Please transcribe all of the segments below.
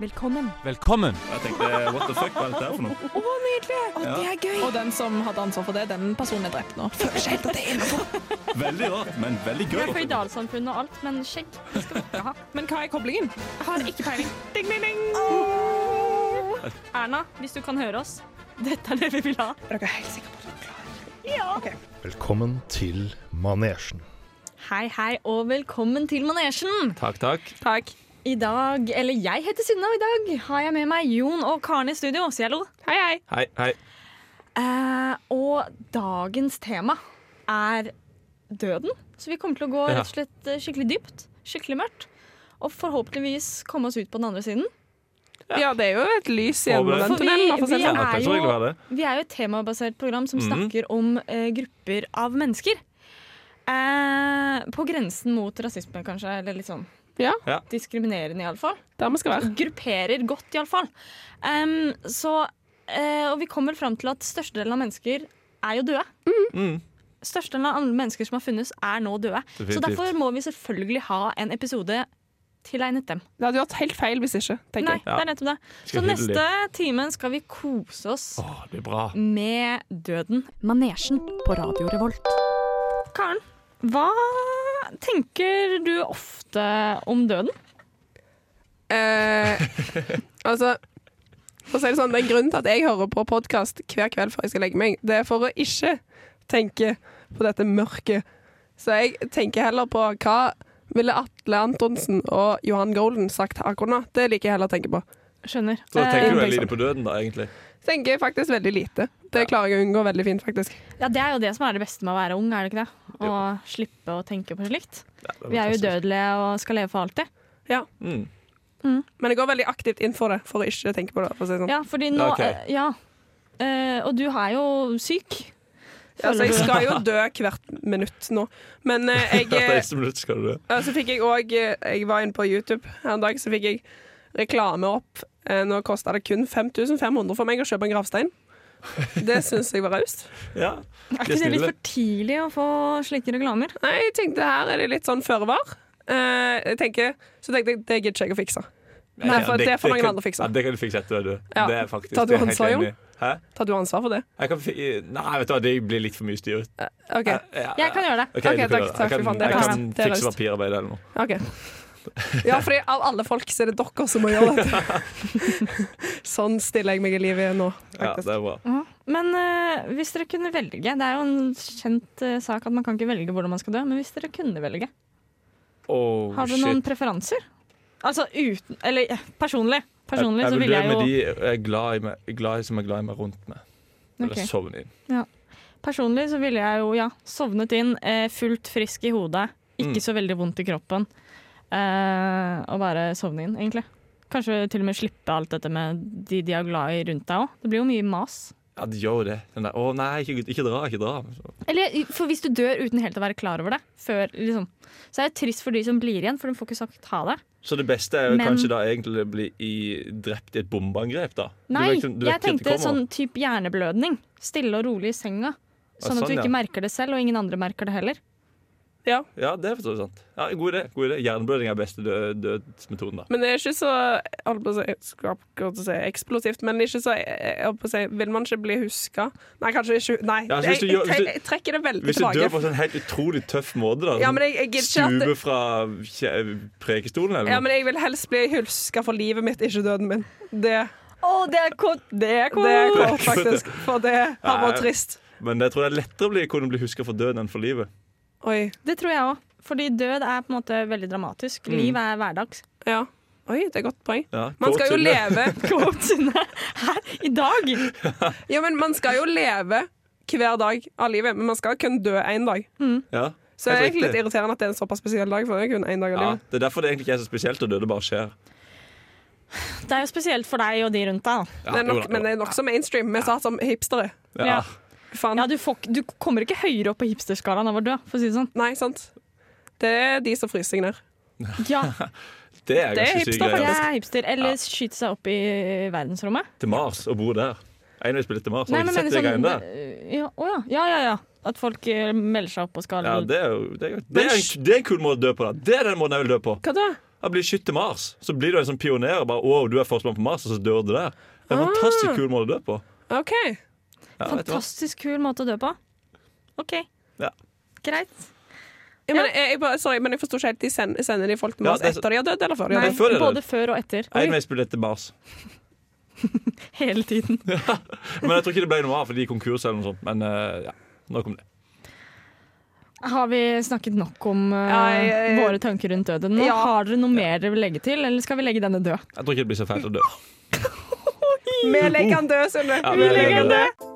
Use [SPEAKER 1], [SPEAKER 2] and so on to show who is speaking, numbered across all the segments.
[SPEAKER 1] Velkommen.
[SPEAKER 2] Velkommen!
[SPEAKER 3] Og Jeg tenkte what the fuck, hva er dette her for noe?
[SPEAKER 1] Å, nydelig! Å,
[SPEAKER 3] Ja.
[SPEAKER 1] Det er gøy.
[SPEAKER 4] Og den som hadde ansvar for det, den personen er drept nå.
[SPEAKER 1] Føler seg helt at det er innafor.
[SPEAKER 3] Veldig rart, men veldig gøy.
[SPEAKER 5] Jeg er føydalsamfunn og alt, men skjegg det skal vi ikke ha.
[SPEAKER 4] Men hva er koblingen?
[SPEAKER 5] Jeg har ikke peiling. Ding, ding, ding. Erna, hvis du kan høre oss, dette er det vi vil ha.
[SPEAKER 1] Er dere helt sikre på at dere er klare?
[SPEAKER 6] Velkommen til manesjen.
[SPEAKER 5] Hei, hei, og velkommen til manesjen.
[SPEAKER 2] Takk, takk.
[SPEAKER 4] Takk.
[SPEAKER 5] I dag, eller jeg heter Synne, og i dag har jeg med meg Jon og Karen i studio. Si hallo.
[SPEAKER 4] Hei, hei.
[SPEAKER 2] Hei, hei.
[SPEAKER 5] Eh, og dagens tema er døden. Så vi kommer til å gå
[SPEAKER 2] Ja.
[SPEAKER 5] rett og slett eh, skikkelig dypt, skikkelig mørkt. Og forhåpentligvis komme oss ut på den andre siden.
[SPEAKER 4] Ja, det er jo et lys i enden av den
[SPEAKER 5] For vi-
[SPEAKER 4] tunnelen. da, for å si det
[SPEAKER 5] vi
[SPEAKER 2] Jeg
[SPEAKER 4] sånn.
[SPEAKER 5] er
[SPEAKER 2] håper ikke
[SPEAKER 5] jo-
[SPEAKER 2] jeg var det.
[SPEAKER 5] Vi er jo et temabasert program som
[SPEAKER 2] Mhm.
[SPEAKER 5] snakker om eh, grupper av mennesker. Eh, på grensen mot rasisme, kanskje, eller litt sånn
[SPEAKER 4] Ja.
[SPEAKER 2] Ja.
[SPEAKER 5] diskriminerende, iallfall.
[SPEAKER 4] Der vi skal være.
[SPEAKER 5] Grupperer godt, iallfall. Um, så eh, Og vi kommer fram til at størstedelen av mennesker er jo døde.
[SPEAKER 2] Mm.
[SPEAKER 5] Størstedelen av alle mennesker som har funnes, er nå døde. Så
[SPEAKER 2] Definitivt.
[SPEAKER 5] derfor må vi selvfølgelig ha en episode tilegnet dem.
[SPEAKER 4] Det hadde vært helt feil hvis ikke, tenker
[SPEAKER 5] Nei,
[SPEAKER 4] jeg.
[SPEAKER 5] det er nettopp det.
[SPEAKER 2] Skal
[SPEAKER 5] Så
[SPEAKER 2] hylle litt.
[SPEAKER 5] neste timen skal vi kose oss
[SPEAKER 2] Å, det blir bra.
[SPEAKER 5] med døden. Manesjen på Radio Revolt. Karen, hva tenker du ofte om døden?
[SPEAKER 4] Eh, altså, for å si det sånn, den grunnen til at jeg hører på podkast hver kveld før jeg skal legge meg, det er for å ikke tenke på dette mørket. Så jeg tenker heller på hva ville Atle Antonsen og Johan Golden sagt akkurat nå? Det liker jeg heller å tenke på.
[SPEAKER 5] Skjønner.
[SPEAKER 2] Så da
[SPEAKER 5] Eh,
[SPEAKER 2] tenker du
[SPEAKER 4] Eh,
[SPEAKER 2] veldig lite på døden, da, egentlig.
[SPEAKER 4] Tenker jeg faktisk veldig lite. Det klarer jeg å unngå veldig fint, faktisk.
[SPEAKER 5] Eh, ja, det er jo det som er det beste med å være ung, er det ikke det? Å slippe å tenke på slikt.
[SPEAKER 2] det
[SPEAKER 5] Vi er jo udødelige og skal leve for alltid.
[SPEAKER 2] Mm.
[SPEAKER 4] Men jeg går veldig aktivt inn for det, for å ikke tenke på det. For å si det sånn.
[SPEAKER 5] Ja, fordi nå
[SPEAKER 2] Ok.
[SPEAKER 5] eh, Ja. Eh, og du er jo syk.
[SPEAKER 4] altså, jeg
[SPEAKER 5] du-
[SPEAKER 4] skal jo dø hvert minutt nå, men eh,
[SPEAKER 2] Hvert
[SPEAKER 4] jeg
[SPEAKER 2] eneste minutt skal du det.
[SPEAKER 4] Ja, så fikk jeg òg Jeg var inne på YouTube her en dag, så fikk jeg reklame opp. Eh, Nå kosta det kun 5500 for meg å kjøpe en gravstein. Det syns jeg var raust.
[SPEAKER 2] Ja.
[SPEAKER 5] Er
[SPEAKER 2] De
[SPEAKER 5] ikke det litt
[SPEAKER 2] snille.
[SPEAKER 5] for tidlig å få slike reklamer?
[SPEAKER 4] Nei, jeg tenkte her er det litt sånn føre var. Eh, jeg tenker, så tenkte jeg det gidder ikke jeg å fikse. Nei, for det får noen
[SPEAKER 2] kan-
[SPEAKER 4] andre å fikse.
[SPEAKER 2] Ja, det kan du fikse etter du.
[SPEAKER 4] Ja.
[SPEAKER 2] Det er faktisk
[SPEAKER 4] Tar du
[SPEAKER 2] det er jeg helt
[SPEAKER 4] hans råd,
[SPEAKER 2] enig i. Hæ?
[SPEAKER 4] Tar du ansvar for det?
[SPEAKER 2] Jeg kan, fi- nei, vet du hva, det blir litt for mye styr.
[SPEAKER 4] OK.
[SPEAKER 5] Jeg kan gjøre det.
[SPEAKER 2] Ok, du kan
[SPEAKER 4] Ok, takk,
[SPEAKER 2] gjøre det.
[SPEAKER 4] takk,
[SPEAKER 2] jeg
[SPEAKER 4] fy
[SPEAKER 2] kan,
[SPEAKER 4] faen, det er
[SPEAKER 2] jeg
[SPEAKER 4] raust.
[SPEAKER 2] kan
[SPEAKER 4] Det er
[SPEAKER 2] fikse
[SPEAKER 4] raust.
[SPEAKER 2] papirarbeid eller noe.
[SPEAKER 4] ok Ja, fordi av alle folk så er det dere som må gjøre dette. Sånn stiller jeg meg i livet nå,
[SPEAKER 2] Ja,
[SPEAKER 4] faktisk.
[SPEAKER 2] det er bra.
[SPEAKER 5] Ja, Men eh, hvis dere kunne velge Det er jo en kjent eh, sak at man kan ikke velge hvordan man skal dø, men hvis dere kunne velge,
[SPEAKER 2] Oh,
[SPEAKER 5] har dere
[SPEAKER 2] shit.
[SPEAKER 5] noen preferanser? Altså uten Eller eh, personlig. Personlig
[SPEAKER 2] jeg,
[SPEAKER 5] så
[SPEAKER 2] jeg
[SPEAKER 5] ville
[SPEAKER 2] vil
[SPEAKER 5] jeg
[SPEAKER 2] leve
[SPEAKER 5] jo
[SPEAKER 2] med de eh, jeg er glad i, meg, glad i som er glad i meg rundt meg. Eller
[SPEAKER 5] Ok.
[SPEAKER 2] sovne inn.
[SPEAKER 5] Personlig så ville jeg jo, ja, sovnet inn, eh, fullt frisk i hodet, ikke
[SPEAKER 2] Mm.
[SPEAKER 5] så veldig vondt i kroppen. eh, og bare sovne inn, egentlig. Kanskje til og med slippe alt dette med de de er glad i rundt deg òg. Det blir jo mye mas.
[SPEAKER 2] Ja, de gjør jo det. Den der, 'Å nei, ikke, ikke dra, ikke dra'. Så,
[SPEAKER 5] Eller, for hvis du dør uten helt å være klar over det, før, liksom, så er det trist for de som blir igjen, for de får ikke sagt ha det.
[SPEAKER 2] så det beste er jo
[SPEAKER 5] Men-
[SPEAKER 2] kanskje da egentlig å bli i, drept i et bombeangrep, da. Du
[SPEAKER 5] Nei,
[SPEAKER 2] vet ikke- du vet
[SPEAKER 5] jeg
[SPEAKER 2] ikke at det
[SPEAKER 5] tenkte
[SPEAKER 2] kommer.
[SPEAKER 5] sånn type hjerneblødning. Stille og rolig i senga. Sånn at
[SPEAKER 2] sånn,
[SPEAKER 5] du
[SPEAKER 2] ja.
[SPEAKER 5] ikke merker det selv, og ingen andre merker det heller.
[SPEAKER 2] Ja, det er for så vidt sant. Ja, god idé. god idé Hjerneblødning er beste dø dødsmetoden, da.
[SPEAKER 4] Men det er ikke så jeg holdt på å si, jeg skulle akkurat å si eksplosivt, men ikke så jeg holdt på å si, Vil man ikke bli huska? Nei, kanskje ikke Nei,
[SPEAKER 2] Ja, så hvis
[SPEAKER 4] jeg,
[SPEAKER 2] du
[SPEAKER 4] jeg,
[SPEAKER 2] gjør- hvis du-
[SPEAKER 4] tre- jeg trekker det veldig
[SPEAKER 2] Hvis du dør
[SPEAKER 4] tilbake.
[SPEAKER 2] på en sånn helt utrolig tøff måte, da.
[SPEAKER 4] Ja,
[SPEAKER 2] sånn
[SPEAKER 4] men jeg, jeg gidder ikke at
[SPEAKER 2] Stupe fra kje- prekestolen, eller
[SPEAKER 4] ja,
[SPEAKER 2] noe.
[SPEAKER 4] men jeg vil helst bli huska for livet mitt, ikke døden min. Det,
[SPEAKER 5] Å, det er kort! Det er
[SPEAKER 4] det er
[SPEAKER 2] Cool.
[SPEAKER 4] kort, faktisk. For det har
[SPEAKER 2] Nei.
[SPEAKER 4] vært trist.
[SPEAKER 2] Men jeg tror det er lettere å bli, kunne bli huska for døden enn for livet.
[SPEAKER 4] Oi.
[SPEAKER 5] Det tror jeg òg. Fordi død er på en måte veldig dramatisk.
[SPEAKER 2] Mm.
[SPEAKER 5] Liv er hverdags.
[SPEAKER 4] Ja. Oi, det er et godt poeng.
[SPEAKER 2] Ja,
[SPEAKER 4] Man skal jo
[SPEAKER 2] Kåtsynne.
[SPEAKER 4] leve
[SPEAKER 5] Quote Synne her i dag!
[SPEAKER 4] Ja, men man skal jo leve hver dag av livet, men man skal kun dø én dag.
[SPEAKER 2] Ja.
[SPEAKER 4] Så det er
[SPEAKER 2] Helt
[SPEAKER 4] egentlig litt
[SPEAKER 2] riktig.
[SPEAKER 4] irriterende at det er en såpass spesiell dag, for det er kun én dag av
[SPEAKER 2] ja,
[SPEAKER 4] livet.
[SPEAKER 2] Det er derfor det egentlig ikke er så spesielt å dø. Det bare skjer.
[SPEAKER 5] Det er jo spesielt for deg og de rundt deg. da.
[SPEAKER 2] Ja,
[SPEAKER 4] Det er
[SPEAKER 2] jo
[SPEAKER 4] nok,
[SPEAKER 2] da,
[SPEAKER 4] men det er nokså mainstream. Vi satt som hipstere.
[SPEAKER 2] ja.
[SPEAKER 5] Ja.
[SPEAKER 4] Faen.
[SPEAKER 5] Ja, du, får, ikke- du kommer ikke høyere opp på hipsterskalaen av å dø, for å si det sånn.
[SPEAKER 4] Nei, sant. Det er de som fryser seg ned.
[SPEAKER 5] Ja,
[SPEAKER 2] Det er altså.
[SPEAKER 4] Det er
[SPEAKER 2] ganske sykt.
[SPEAKER 4] hipster,
[SPEAKER 5] Det
[SPEAKER 2] greier.
[SPEAKER 5] er hipster. Eller skyte seg opp i verdensrommet.
[SPEAKER 2] Til Mars og bo der. En vil spille til Mars. Har
[SPEAKER 5] men
[SPEAKER 2] du ikke sett de
[SPEAKER 5] mener
[SPEAKER 2] greiene der?
[SPEAKER 5] sånn- ja, å ja. ja, ja, ja. At folk eh, melder seg opp og skal
[SPEAKER 2] Ja, det er jo det er, jo- det er, en, det er en kul måte å dø på. da Det er den måten jeg vil dø på.
[SPEAKER 4] Hva da?
[SPEAKER 2] Jeg blir skytt til Mars. Så blir du en sånn pioner. og Bare, wow, du er førstemann på Mars, og så dør du der. Det er en fantastisk kul måte å dø på.
[SPEAKER 4] OK.
[SPEAKER 2] Ja, vet du hva?
[SPEAKER 5] Fantastisk kul måte å dø på. OK.
[SPEAKER 2] Ja.
[SPEAKER 5] Greit.
[SPEAKER 4] Ja, men, jeg, jeg, bare, sorry, men jeg forstår ikke helt. De sender, sender de folk til
[SPEAKER 2] Ja,
[SPEAKER 4] Mars
[SPEAKER 2] det er så-
[SPEAKER 4] etter de har dødd, eller før de har
[SPEAKER 5] Nei,
[SPEAKER 2] før jeg døde.
[SPEAKER 5] både før og etter. Oi,
[SPEAKER 2] Enveisbillett til Mars.
[SPEAKER 5] hele tiden.
[SPEAKER 2] Men jeg tror ikke det ble noe av, for de gikk konkurs eller noe sånt. Men eh, ja, nok om det.
[SPEAKER 5] Har vi snakket nok om eh,
[SPEAKER 4] Ja, jeg- jeg-
[SPEAKER 5] våre tanker rundt døden nå?
[SPEAKER 4] Ja.
[SPEAKER 5] Har dere noe mer dere vil legge til, eller skal vi legge denne død?
[SPEAKER 2] Jeg tror ikke det blir så fælt å dø.
[SPEAKER 4] Vi legger han død, Sunne.
[SPEAKER 2] Ja, vi legger han død.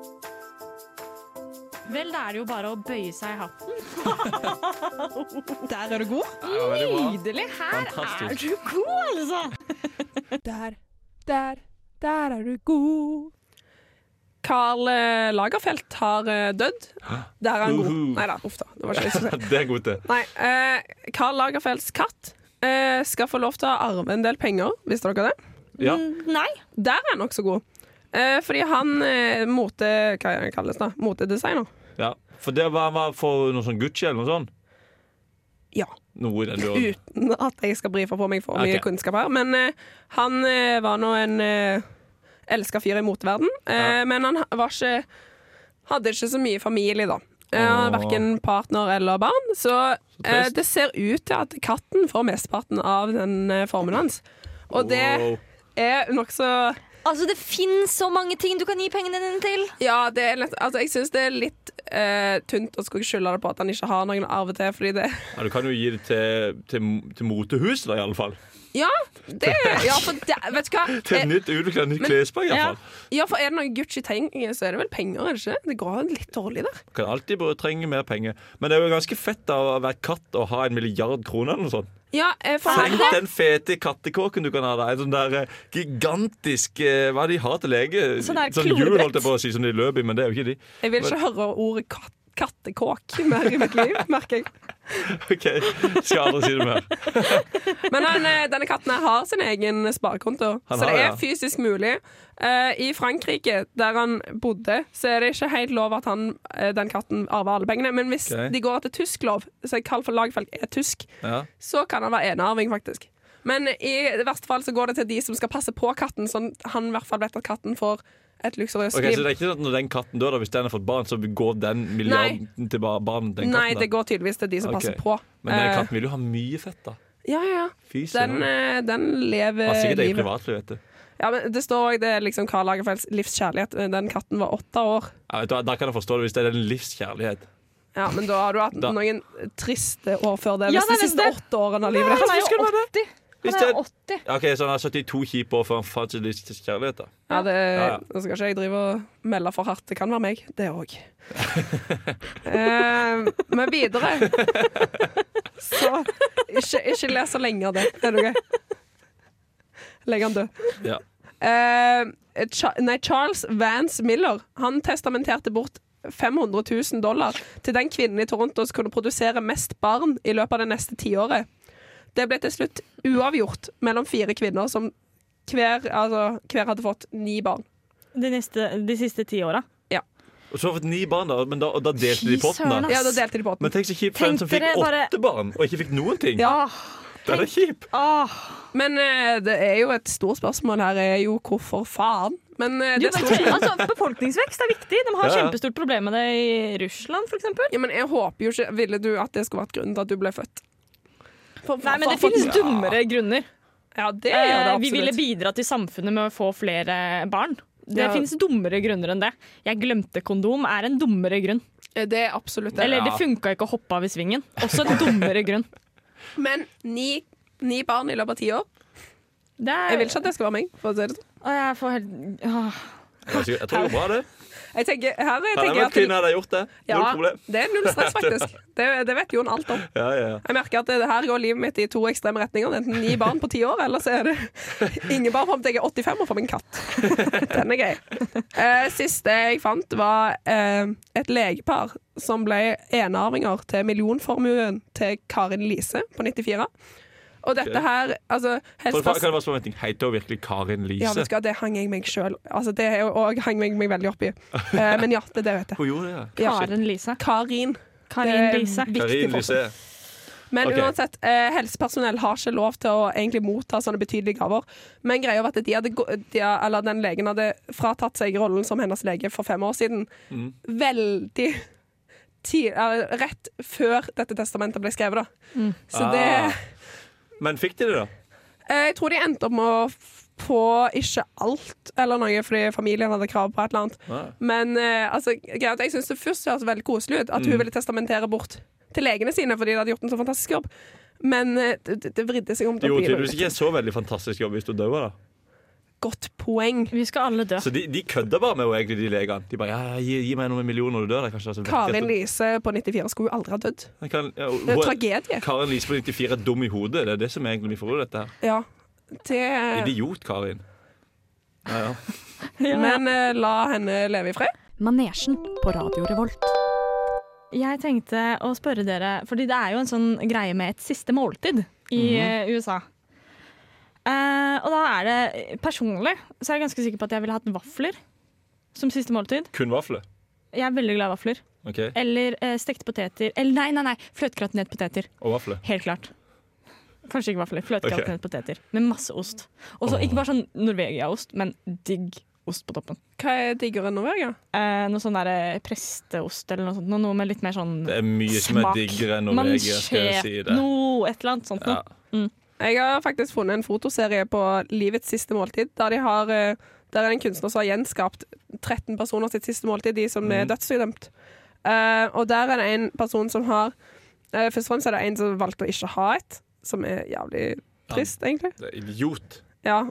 [SPEAKER 5] Vel, da er det jo bare å bøye seg i hatten.
[SPEAKER 1] Der er du god.
[SPEAKER 5] Nydelig! Her er du god, altså!
[SPEAKER 4] Der, der, der er du god. Carl eh, Lagerfeldt har eh, dødd. Der er han god.
[SPEAKER 2] Uhu.
[SPEAKER 4] Nei da, uff da. Det var ikke det jeg skulle si.
[SPEAKER 2] Det er godt, det.
[SPEAKER 4] Nei, eh, Carl Lagerfeldts katt eh, skal få lov til å arve en del penger, visste dere det?
[SPEAKER 2] Ja.
[SPEAKER 5] Mm, Nei.
[SPEAKER 4] Der er han også god. Eh, fordi han eh, mote... Hva kalles det? Motedesigner.
[SPEAKER 2] ja. For det var, var for noe sånn Gucci eller noe sånt.
[SPEAKER 4] Ja.
[SPEAKER 2] Noe i den duren.
[SPEAKER 4] Uten at jeg skal brife på meg for mye
[SPEAKER 2] Ok.
[SPEAKER 4] kunnskap her. Men eh, han eh, var nå en uh, elska fyr i moteverden. Eh, Men han var ikke Hadde ikke så mye familie, da. Uh,
[SPEAKER 2] Åh.
[SPEAKER 4] Verken partner eller barn. Så eh,
[SPEAKER 2] trist.
[SPEAKER 4] det ser ut til at katten får mesteparten av den eh, formen hans. Og det
[SPEAKER 2] Wow.
[SPEAKER 4] er nokså
[SPEAKER 7] Altså, det finnes så mange ting du kan gi pengene dine til.
[SPEAKER 4] Ja, det er lett, altså, jeg syns det er litt eh, tynt å skulle skylde det på at han ikke har noen arv til, fordi det
[SPEAKER 2] Ja, du kan jo gi det til, til, til motehuset, da, i alle fall.
[SPEAKER 4] Ja, det, ja for det, vet du hva?
[SPEAKER 2] Til
[SPEAKER 4] Eh,
[SPEAKER 2] et nytt utvikla nytt
[SPEAKER 4] men-
[SPEAKER 2] klesplagg,
[SPEAKER 5] ja.
[SPEAKER 2] iallfall.
[SPEAKER 4] Ja, for er det noe Gucci-ting, så er det vel penger, er det ikke? Det går litt dårlig der.
[SPEAKER 2] Kan alltid bare trenge mer penger. Men det er jo ganske fett da, å være katt og ha en milliard kroner eller noe sånt.
[SPEAKER 4] Ja, eh, for
[SPEAKER 2] Tenk den fete kattekåken du kan ha der. En sånn der eh, gigantisk eh, Hva er det de har til lege?
[SPEAKER 5] Sånn der
[SPEAKER 2] hjul,
[SPEAKER 5] klorebrett.
[SPEAKER 2] holdt jeg på å si, som de løper i, men det er jo ikke de.
[SPEAKER 4] jeg vil ikke høre ordet kat kattekåk mer i mitt liv, merker jeg.
[SPEAKER 2] Ok, Skal aldri si det mer.
[SPEAKER 4] Men han, eh, denne katten her har sin egen sparekonto,
[SPEAKER 2] Han
[SPEAKER 4] så
[SPEAKER 2] har det,
[SPEAKER 4] det er
[SPEAKER 2] ja.
[SPEAKER 4] fysisk mulig. Eh, I Frankrike, der han bodde, så er det ikke helt lov at han, eh, den katten arver alle pengene. Men hvis
[SPEAKER 2] Ok.
[SPEAKER 4] de går etter tysk lov, så Karl for Lagerfeldt er tysk,
[SPEAKER 2] Ja.
[SPEAKER 4] så kan han være enearving, faktisk. Men i verste fall så går det til de som skal passe på katten, sånn han i hvert fall vet at katten får et luksuriøst
[SPEAKER 2] Ok,
[SPEAKER 4] liv.
[SPEAKER 2] Så det er ikke sånn at når den katten dør, da, hvis den har fått barn, så går den milliarden til bar- barnet til den
[SPEAKER 4] Nei,
[SPEAKER 2] katten?
[SPEAKER 4] det
[SPEAKER 2] da?
[SPEAKER 4] går tydeligvis til de som
[SPEAKER 2] Ok.
[SPEAKER 4] passer på.
[SPEAKER 2] Men den
[SPEAKER 4] Eh,
[SPEAKER 2] katten vil jo ha mye fett, da.
[SPEAKER 4] ja, ja. ja.
[SPEAKER 2] Fy
[SPEAKER 4] Den,
[SPEAKER 2] søren.
[SPEAKER 4] eh, den lever
[SPEAKER 2] Har sikkert eget
[SPEAKER 4] livet.
[SPEAKER 2] privatliv, vet du.
[SPEAKER 4] Ja, men det står òg det er liksom Karl Lagerfelds livskjærlighet. Eh, Den katten var åtte år.
[SPEAKER 2] Ja, vet du, hva, da kan jeg forstå det, hvis det er en livskjærlighet.
[SPEAKER 4] Ja, Men da har du hatt
[SPEAKER 2] Da-
[SPEAKER 4] noen triste år før det.
[SPEAKER 5] Ja,
[SPEAKER 4] Hvis de
[SPEAKER 5] det er
[SPEAKER 4] siste
[SPEAKER 5] det.
[SPEAKER 4] åtte årene av livet ditt.
[SPEAKER 5] Han er jo 80.
[SPEAKER 2] Hvis
[SPEAKER 5] Han er
[SPEAKER 2] det-
[SPEAKER 5] jo 80.
[SPEAKER 2] Ja, Ok, Så han har 72 kjipe år før han fant sin livskjærlighet kjærlighet? da
[SPEAKER 4] Ja, det,
[SPEAKER 2] Ja, ja.
[SPEAKER 4] Nå skal ikke jeg drive og melde for hardt. Det kan være meg, det òg. men videre Så ikke, ikke les så lenge av det. Er du grei? Legg han død.
[SPEAKER 2] Ja.
[SPEAKER 4] Eh, Cha nei, Charles Vance Miller Han testamenterte bort 500 000 dollar til den kvinnen i Toronto som kunne produsere mest barn i løpet av det neste tiåret. Det ble til slutt uavgjort mellom fire kvinner som hver, altså, hver hadde fått ni barn.
[SPEAKER 5] De, neste, de siste ti åra.
[SPEAKER 2] Og så har han fått ni barn, da, men da, og da delte de
[SPEAKER 5] Fy
[SPEAKER 2] potten.
[SPEAKER 5] søren,
[SPEAKER 2] da
[SPEAKER 5] ass.
[SPEAKER 4] Ja, da delte de på
[SPEAKER 2] Men
[SPEAKER 4] åtten.
[SPEAKER 2] tenk så kjipt for den som
[SPEAKER 5] Tenk
[SPEAKER 2] fikk
[SPEAKER 5] dere bare-
[SPEAKER 2] åtte barn og ikke fikk noen ting.
[SPEAKER 4] Ja.
[SPEAKER 5] Ah.
[SPEAKER 2] Det er da kjip.
[SPEAKER 4] Men eh, det er jo et stort spørsmål her, er jo hvorfor faen? Men eh, det er et stort spørsmål.
[SPEAKER 5] altså, befolkningsvekst er viktig. De har
[SPEAKER 2] Ja, ja.
[SPEAKER 5] kjempestort problem med det i Russland, f.eks.
[SPEAKER 4] Ja, men jeg håper jo ikke Ville du at det skulle vært grunnen til at du ble født? For-
[SPEAKER 5] Nei, men det
[SPEAKER 4] for- for-
[SPEAKER 5] finnes dummere grunner.
[SPEAKER 4] Ja, det gjør det
[SPEAKER 5] Eh,
[SPEAKER 4] absolutt.
[SPEAKER 5] vi ville bidra til samfunnet med å få flere barn. Det
[SPEAKER 4] Ja.
[SPEAKER 5] finnes dummere grunner enn det. Jeg glemte kondom er en dummere grunn.
[SPEAKER 4] Eh, Det er absolutt det.
[SPEAKER 5] Eller det
[SPEAKER 2] Ja.
[SPEAKER 5] funka ikke å hoppe av i svingen. Også en dummere grunn.
[SPEAKER 4] Men ni, ni barn i løpet av ti år.
[SPEAKER 5] Det er,
[SPEAKER 4] Jeg vil ikke at det skal være meg. For å si det. sånn.
[SPEAKER 5] Å, jeg får helt åh.
[SPEAKER 2] Jeg tror det er bra, det.
[SPEAKER 4] Jeg tenker, her er-
[SPEAKER 2] Hadde jeg
[SPEAKER 4] tenker jeg
[SPEAKER 2] vært kvinne,
[SPEAKER 4] at
[SPEAKER 2] hadde jeg gjort det.
[SPEAKER 4] ja,
[SPEAKER 2] Null problem.
[SPEAKER 4] det er null stress, faktisk. Det, det vet Jon alt om.
[SPEAKER 2] Ja, ja, ja.
[SPEAKER 4] Jeg merker at det, det her går livet mitt i to ekstreme retninger. Enten ni barn på ti år, eller så er det ingen barn fram til jeg er 85 og får meg en katt. Den er gøy. Eh, siste jeg fant, var eh, et legepar som ble enearvinger til millionformuen til Karin Lise på 94. Og dette
[SPEAKER 2] Ok.
[SPEAKER 4] her altså,
[SPEAKER 2] For,
[SPEAKER 4] helseperson-
[SPEAKER 2] for, kan jeg bare spørre om en ting? Heter hun virkelig Karin
[SPEAKER 4] Ja,
[SPEAKER 2] Lise?
[SPEAKER 4] vet du hva, det hang jeg meg sjøl altså, Det er jo- og hang jeg meg veldig opp i. Eh, men ja, det er det jeg vet.
[SPEAKER 2] Hun gjorde det.
[SPEAKER 4] Ja.
[SPEAKER 5] Karen Lise.
[SPEAKER 4] Karin.
[SPEAKER 5] Karin
[SPEAKER 4] Det-
[SPEAKER 5] Lise.
[SPEAKER 2] Karin Lise.
[SPEAKER 4] Men
[SPEAKER 2] Ok.
[SPEAKER 4] uansett, eh, helsepersonell har ikke lov til å egentlig motta sånne betydelige gaver. Men greia var at de hadde, gå- de, eller den legen hadde fratatt seg rollen som hennes lege for fem år siden. Veldig ti- eller rett før dette testamentet ble skrevet, da. Så det
[SPEAKER 2] Ah. Men fikk de det, da?
[SPEAKER 4] eh, Jeg tror de endte opp med å få ikke alt eller noe, fordi familien hadde krav på et eller annet.
[SPEAKER 2] Nei.
[SPEAKER 4] Men eh, altså, greia er at jeg syns det først hørtes veldig koselig ut at
[SPEAKER 2] Mm.
[SPEAKER 4] hun ville testamentere bort til legene sine fordi de hadde gjort en så fantastisk jobb. Men eh, det, det vridde seg om
[SPEAKER 2] Det
[SPEAKER 4] til å
[SPEAKER 2] gjorde
[SPEAKER 4] bli
[SPEAKER 2] tydeligvis
[SPEAKER 4] noe
[SPEAKER 2] ikke en så veldig fantastisk jobb hvis du døde. da
[SPEAKER 4] godt poeng.
[SPEAKER 5] Vi skal alle dø.
[SPEAKER 2] Så de, de kødda bare med henne, egentlig, de legene. De bare ja, ja, gi, 'Gi meg noen millioner når du dør', da. Kanskje, altså, vet jeg
[SPEAKER 4] Karin
[SPEAKER 2] at du-
[SPEAKER 4] Lise på 94 skulle jo aldri ha dødd.
[SPEAKER 2] Jeg kan, ja,
[SPEAKER 4] Det er
[SPEAKER 2] hun-
[SPEAKER 4] en tragedie.
[SPEAKER 2] Karin Lise på 94 er dum i hodet. Det er det som er egentlig blir forbudt, dette her.
[SPEAKER 4] Ja. Det,
[SPEAKER 2] Idiot, Karin. Ja, ja.
[SPEAKER 4] men eh, la henne leve i fred.
[SPEAKER 8] Manesjen på Radio Revolt.
[SPEAKER 5] Jeg tenkte å spørre dere, fordi det er jo en sånn greie med et siste måltid i eh, USA. Eh, og da er det personlig, så er jeg ganske sikker på at jeg ville hatt vafler som siste måltid.
[SPEAKER 2] Kun vafler.
[SPEAKER 5] Jeg er veldig glad i vafler.
[SPEAKER 2] Ok,
[SPEAKER 5] Eller eh, stekte poteter. Eller nei, nei, nei, fløtekratinert poteter.
[SPEAKER 2] Og vafler.
[SPEAKER 5] Helt klart. Kanskje ikke vafler. Fløtekratinert poteter med masse ost. Og så ikke bare sånn Norvegia-ost, men digg ost på toppen.
[SPEAKER 4] Hva er diggere enn Norvegia?
[SPEAKER 5] Eh, noe sånn der eh, presteost eller noe sånt. Noe, noe med litt mer sånn
[SPEAKER 2] Det er mye som er
[SPEAKER 5] smak.
[SPEAKER 2] diggere enn Norvegia, skal jeg si det.
[SPEAKER 5] Noe, et eller annet sånt
[SPEAKER 2] Ja.
[SPEAKER 5] noe.
[SPEAKER 4] Jeg har faktisk funnet en fotoserie på Livets siste måltid, der, de har, eh, der er det en kunstner som har gjenskapt 13 personer sitt siste måltid, de som
[SPEAKER 2] Mm.
[SPEAKER 4] er dødsdømt. Eh, og der er det en person som har eh, Først og fremst er det en som valgte å ikke ha et, som er jævlig trist, egentlig.
[SPEAKER 2] Det er idiot.
[SPEAKER 4] Ja.